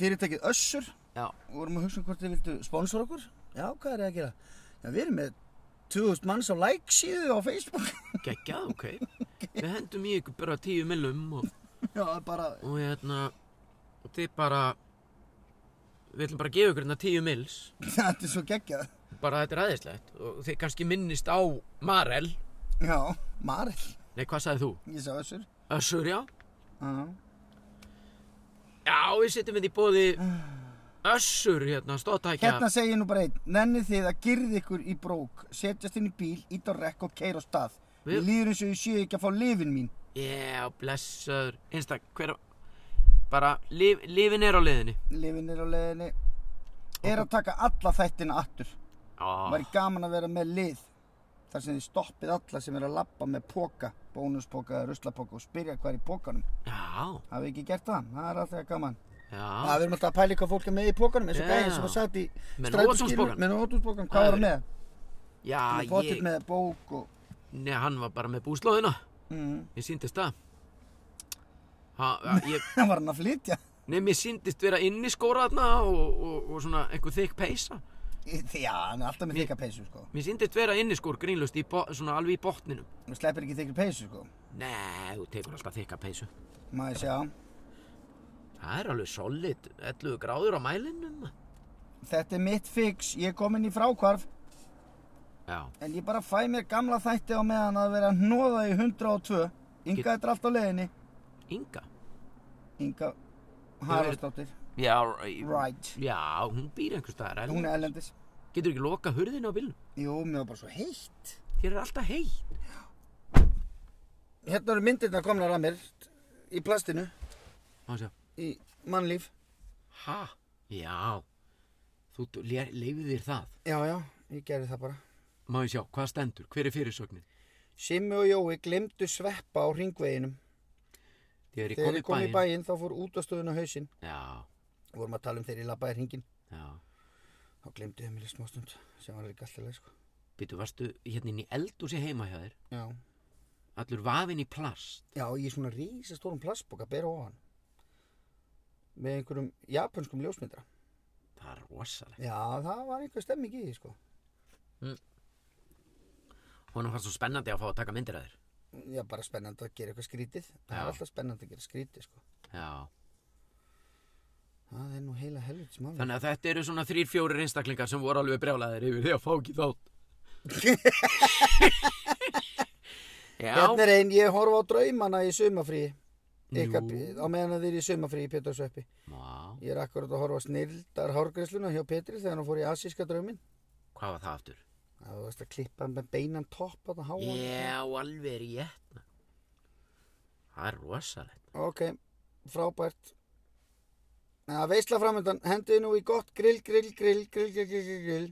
Speaker 1: fyrirtækið Össur.
Speaker 2: Já,
Speaker 1: Við vorum að hugsa um hvort þið vildu sponsor okkur. Já, hvað er það að gera? Já, við erum með 2000 manns á like síðu á Facebook.
Speaker 2: geggjað, ok. Við hendum í ykkur bara 10 millum og...
Speaker 1: Já, það er bara...
Speaker 2: og hérna og þið bara við ætlum bara að gefa ykkur hérna tíu mils
Speaker 1: Þetta er svo geggjað.
Speaker 2: bara þetta er aðeinslegt og þið kannski minnist á Marel
Speaker 1: Já, Marill.
Speaker 2: nei hvað sagði þú?
Speaker 1: Ég sá þessur.
Speaker 2: Össur já?
Speaker 1: Já.
Speaker 2: já við setjum þetta í bóði Össur hérna stóttækja
Speaker 1: Hérna segi ég nú bara einn. Nennið þið að girða ykkur í brók, setjast inn í bíl, ít á rekk og keira á stað.
Speaker 2: Við-
Speaker 1: Mér líður eins og ég sé ekki að fá lifin mín.
Speaker 2: já blessaður einstak hver bara líf, lífin er á leiðinni
Speaker 1: Lifin er á leiðinni. Er að taka alla þættina aftur.
Speaker 2: Ó,
Speaker 1: Væri gaman að vera með lið. Þar sem þið stoppið alla sem er að labba með póka, bónuspoka eða ruslapoka og spyrja hvað er í pókanum.
Speaker 2: já
Speaker 1: Hafið ekki gert það? Það er alltaf gaman. Já,
Speaker 2: já
Speaker 1: við erum alltaf að pæla í hvað fólk er með í pókanum eins og
Speaker 2: Ah. Já.
Speaker 1: gæðin sem að satt í
Speaker 2: Með
Speaker 1: strætóskilur
Speaker 2: Nóatúnspokann.
Speaker 1: með nótúnsbókan, hvað var hann með?
Speaker 2: já
Speaker 1: Hann er
Speaker 2: ég
Speaker 1: Bótið með bók og
Speaker 2: nei hann var bara með búslóðina
Speaker 1: mm.
Speaker 2: ég síndist það ha, ég
Speaker 1: hann var hann að flytja
Speaker 2: Nei, mér síndist vera inn í skóra þarna og, og, og svona einhver þykk peysa.
Speaker 1: Í- Já, hann er alltaf með þykka peysu sko
Speaker 2: Mér síndist vera inn í skór grínlust í bo, svona alveg í botninum.
Speaker 1: Hann sleppir ekki þykri peysu sko
Speaker 2: Nei, þú tekur alltaf þykka peysu.
Speaker 1: Má ég sjá
Speaker 2: Það er alveg solid, 11 gráður á mælinum.
Speaker 1: Þetta er mitt fix, ég er komin í frákvarf
Speaker 2: Já,
Speaker 1: en ég bara fæ mér gamla þætti á meðan að vera hnoða í 102 Inga
Speaker 2: Get-
Speaker 1: þetta er allt á leiðinni
Speaker 2: Inga.
Speaker 1: Inga
Speaker 2: verið-
Speaker 1: Haraldsdóttir
Speaker 2: Já, í-
Speaker 1: Right.
Speaker 2: Já, hún býr einhvers staðar.
Speaker 1: Hún er ellendis
Speaker 2: Getur ekki loka hurðinu á bílnum.
Speaker 1: Jú, mér var bara svo heitt
Speaker 2: Þér er alltaf heitt.
Speaker 1: Hérna eru myndirna komnar að mér í plastinu,
Speaker 2: Má sjá.
Speaker 1: í mannlíf
Speaker 2: Ha? Já. Þú leifir þér það.
Speaker 1: Já, já, ég gerði það bara
Speaker 2: Má ég sjá, hvað stendur? Hver er fyrirsögnin?
Speaker 1: Simmi og Jói glemdu sveppa á ringveginum
Speaker 2: Þegar ég
Speaker 1: Þegar
Speaker 2: kom
Speaker 1: ég
Speaker 2: í
Speaker 1: kom í
Speaker 2: bæinn.
Speaker 1: bæinn þá fór útastöðun á hausinn
Speaker 2: Já,
Speaker 1: Við vorum að tala um þegar ég labbaði hringin
Speaker 2: já.
Speaker 1: þá glemdi Emil í smástund sem var líka alltaf leið sko
Speaker 2: Býtu, varstu hérna inn í eldúsi heima hjá þér?
Speaker 1: já.
Speaker 2: Allur vafinn í plast.
Speaker 1: já, ég er svona rísastórum plastboka bera ofan með einhverjum japönskum ljósmyndra
Speaker 2: Það er rosalegt.
Speaker 1: já, það var einhver stemming í því sko
Speaker 2: Honum fannst svo spennandi að fá að taka myndir að þér.
Speaker 1: já, bara spennandi að gera eitthvað skrítið það
Speaker 2: Já.
Speaker 1: er alltaf spennandi að gera skrítið sko
Speaker 2: Já.
Speaker 1: það er nú heila helvits maður
Speaker 2: Þannig að þetta eru svona þrýr, fjórir einstaklingar sem voru alveg brjálaðir yfir því að fá ekki þátt. Já,
Speaker 1: Hérna er einn, ég horfa á draumana í sumafríi. Ykkar,
Speaker 2: Jú.
Speaker 1: á meðan þeir eru í sumafríi í Pétursveppi.
Speaker 2: Vá,
Speaker 1: Ég er akkurat að horfa á snildar hárgresluna hjá Pétri þegar hann fór í asíska drauminn.
Speaker 2: hvað var það aftur?
Speaker 1: Það var að klippa hann með beinan topp að það háa.
Speaker 2: Já, alveg rétt. Það er rosalegt.
Speaker 1: Ok, frábært. Það veisla framöndan, hendið nú í gott grill, grill, grill, grill, grill, grill, grill, grill.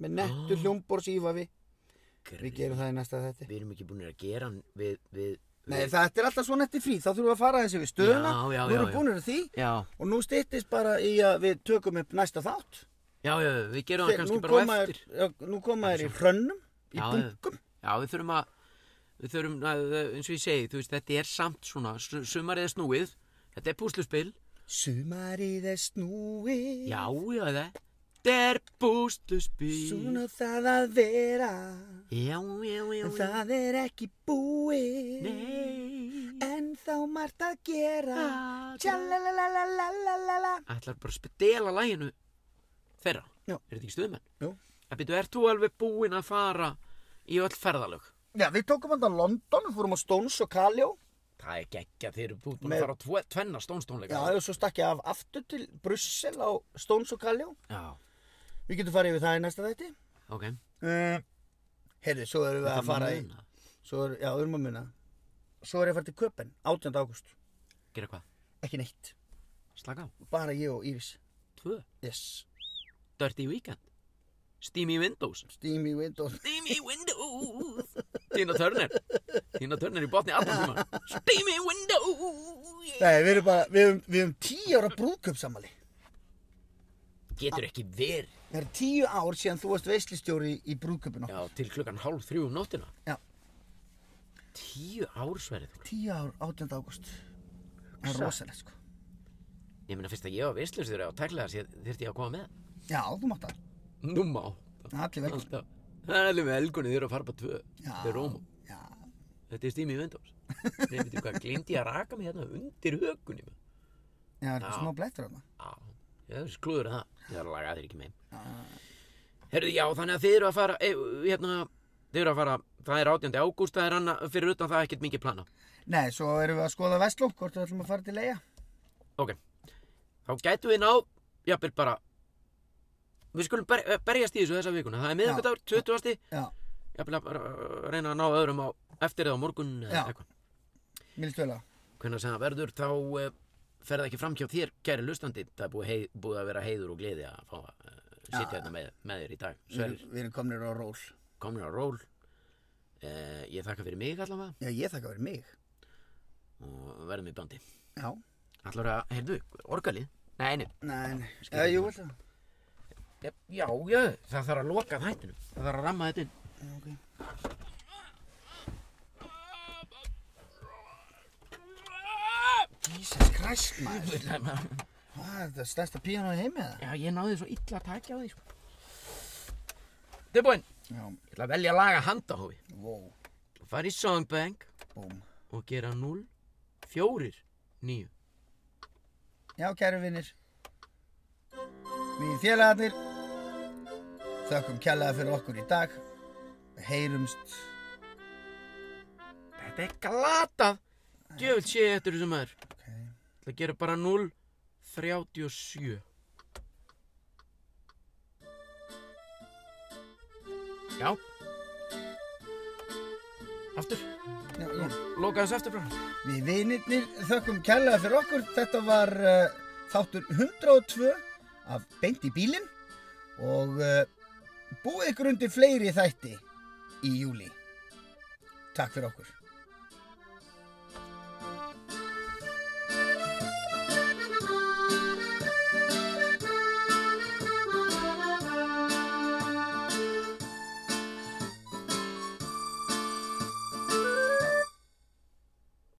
Speaker 1: Með nettu
Speaker 2: Ah.
Speaker 1: oh. hljómbors ífafi. Við
Speaker 2: Grið.
Speaker 1: gerum það í næsta þetti.
Speaker 2: Við erum ekki búin að gera hann við, við, við.
Speaker 1: Nei, þetta er alltaf svona eftir frí, þá þurfum við að fara þessi við stöðuna.
Speaker 2: Já, já,
Speaker 1: Nú erum
Speaker 2: já,
Speaker 1: við
Speaker 2: já.
Speaker 1: búinir að því
Speaker 2: Já,
Speaker 1: og nú styttist bara í að við tökum upp næsta þátt.
Speaker 2: já, já, við gerum hann
Speaker 1: Þeir-
Speaker 2: kannski
Speaker 1: nú
Speaker 2: bara á
Speaker 1: koma
Speaker 2: eftir.
Speaker 1: þeir- já, Nú koma þér í hrönnum, í
Speaker 2: Já, já.
Speaker 1: bunkum.
Speaker 2: Já, við þurfum að, við þurfum að, eins og ég segi, þú veist, þetta er samt svona, su- sumarið er snúið, þetta er púsluspil.
Speaker 1: Sumarið er snúið,
Speaker 2: Já, já, þetta er púsluspil.
Speaker 1: svona það að vera,
Speaker 2: Já, já, já,
Speaker 1: en
Speaker 2: já,
Speaker 1: það er ekki búið.
Speaker 2: nei.
Speaker 1: En þá margt að gera Tjalalalalalalalala
Speaker 2: Ætlar bara að spedela læginu þeirra.
Speaker 1: Já.
Speaker 2: Er þetta ekki stuðmenn?
Speaker 1: Jú.
Speaker 2: En byrju, ert þú alveg búinn að fara í öll ferðalög?
Speaker 1: Já, við tókum hann til London, fórum á Stones og Kaljó
Speaker 2: Það er geggja, þeir eru búin að
Speaker 1: Með-
Speaker 2: fara á tve, tvenna stónstónleika.
Speaker 1: Já, og svo stakk ég af aftur til Brussel á Stones og Kaljó
Speaker 2: Já,
Speaker 1: Við getum farið yfir það í næsta þætti
Speaker 2: ok.
Speaker 1: uh, Herri, svo erum við að fara í
Speaker 2: Muna.
Speaker 1: svo er, Já, erum að muna Svo er ég að fara til Köpen, 18. ágúst
Speaker 2: Gera hvað?
Speaker 1: Ekki neitt,
Speaker 2: Slaka á.
Speaker 1: bara ég og Íris
Speaker 2: Tvö.
Speaker 1: Yes,
Speaker 2: Dirty Weekend. Steamy Windows.
Speaker 1: Steamy Windows
Speaker 2: Steamy Windows. Tina Turner. Tina Turner í botni allan tíma. Steamy Windows.
Speaker 1: Nei, við erum bara, við erum, við erum tíu ára brúðköpsamali
Speaker 2: Getur ekki verið.
Speaker 1: Það er tíu ár síðan þú varst veislistjóri í brúðköpun
Speaker 2: Já, til klukkan hálf þrjú um nóttina.
Speaker 1: Já.
Speaker 2: Tíu ársverðið.
Speaker 1: Tíu ár, 18. ágúst Það er
Speaker 2: Hugsa.
Speaker 1: rosalegt sko
Speaker 2: Ég meina fyrst að ég var veislustur á tæklaðar sér þyrfti ég að koma með.
Speaker 1: Já, þú mátt það
Speaker 2: Nú má.
Speaker 1: Allir velkomin
Speaker 2: Alltaf. Það er alveg með elgunni þeir eru að fara bara tvö.
Speaker 1: Já.
Speaker 2: Þeir rómum.
Speaker 1: Já,
Speaker 2: Þetta er Steamy Windows. Nei, veitir hvað, glindi ég að raka mig hérna undir hökunni. maður.
Speaker 1: já, það er
Speaker 2: Já.
Speaker 1: eitthvað smá blettur þarna
Speaker 2: Já, ég er sklúður að það. Ég þarf að laga þeir ekki með. Herðu, já, þannig að þið eru að fara, e, hérna, þið eru að fara, það er 18. ágúst, það er anna, fyrir utan það er ekkert mikið plana.
Speaker 1: Nei, svo erum við að skoða Vestló Hvort við ætlum að fara til Leia
Speaker 2: Ok, þá gætu við náð, jafnvel bara, við skulum ber, e, berjast í þessu þessa vikuna. Það er miðvikudagur, 20.
Speaker 1: Já,
Speaker 2: jafnvel að bara, uh, reyna að ná öðrum á eftir eða á morgun eða
Speaker 1: Já.
Speaker 2: eitthvað.
Speaker 1: minnst vel á
Speaker 2: Hvernig sem það verður, þá uh, fer það ekki fram hjá þér, kæri lustandi. Það er búið, hei, búið að vera heiður og gleði að fá að uh, sitja hérna með, með þér í dag.
Speaker 1: Við
Speaker 2: Sverrir,
Speaker 1: erum- við erum komnir á ról
Speaker 2: komin á ról. Uh, ég þakka fyrir mig allavega
Speaker 1: Já, ég þakka verið mig
Speaker 2: og verðum í bandi.
Speaker 1: Já,
Speaker 2: Allar að, heyrðu, orgalið? Nei, nei.
Speaker 1: nei, nei Já, jú, vel það
Speaker 2: Já, já, það þarf að loka þættinu. Það þarf að ramma þetta inn.
Speaker 1: okay. Jesus Christ, maður Hvað er þetta, stærsta píano í heimi eða?
Speaker 2: Já, ég náði svo illa að takja á því, sko. Tilbúin.
Speaker 1: Já,
Speaker 2: Ég ætla að velja að laga handahófi.
Speaker 1: wow,
Speaker 2: Fara í Songbank
Speaker 1: búm
Speaker 2: og gera 0, 4, 9.
Speaker 1: Já, kæru vinnir. Við félagarnir þökkum kjallaði fyrir okkur í dag. Við heyrumst.
Speaker 2: Þetta er glatað. Djöfull sé ég eftir þessum maður. Ég
Speaker 1: Ok,
Speaker 2: ætla að gera bara 0, 37. Já. Aftur.
Speaker 1: já, já.
Speaker 2: Loka þessu aftur frá.
Speaker 1: Við vinnirnir þökkum kjallaði fyrir okkur. Þetta var uh, þáttur 102 af Beint í bílinn og uh, búið ykkur undir fleiri þætti í júli. Takk fyrir okkur.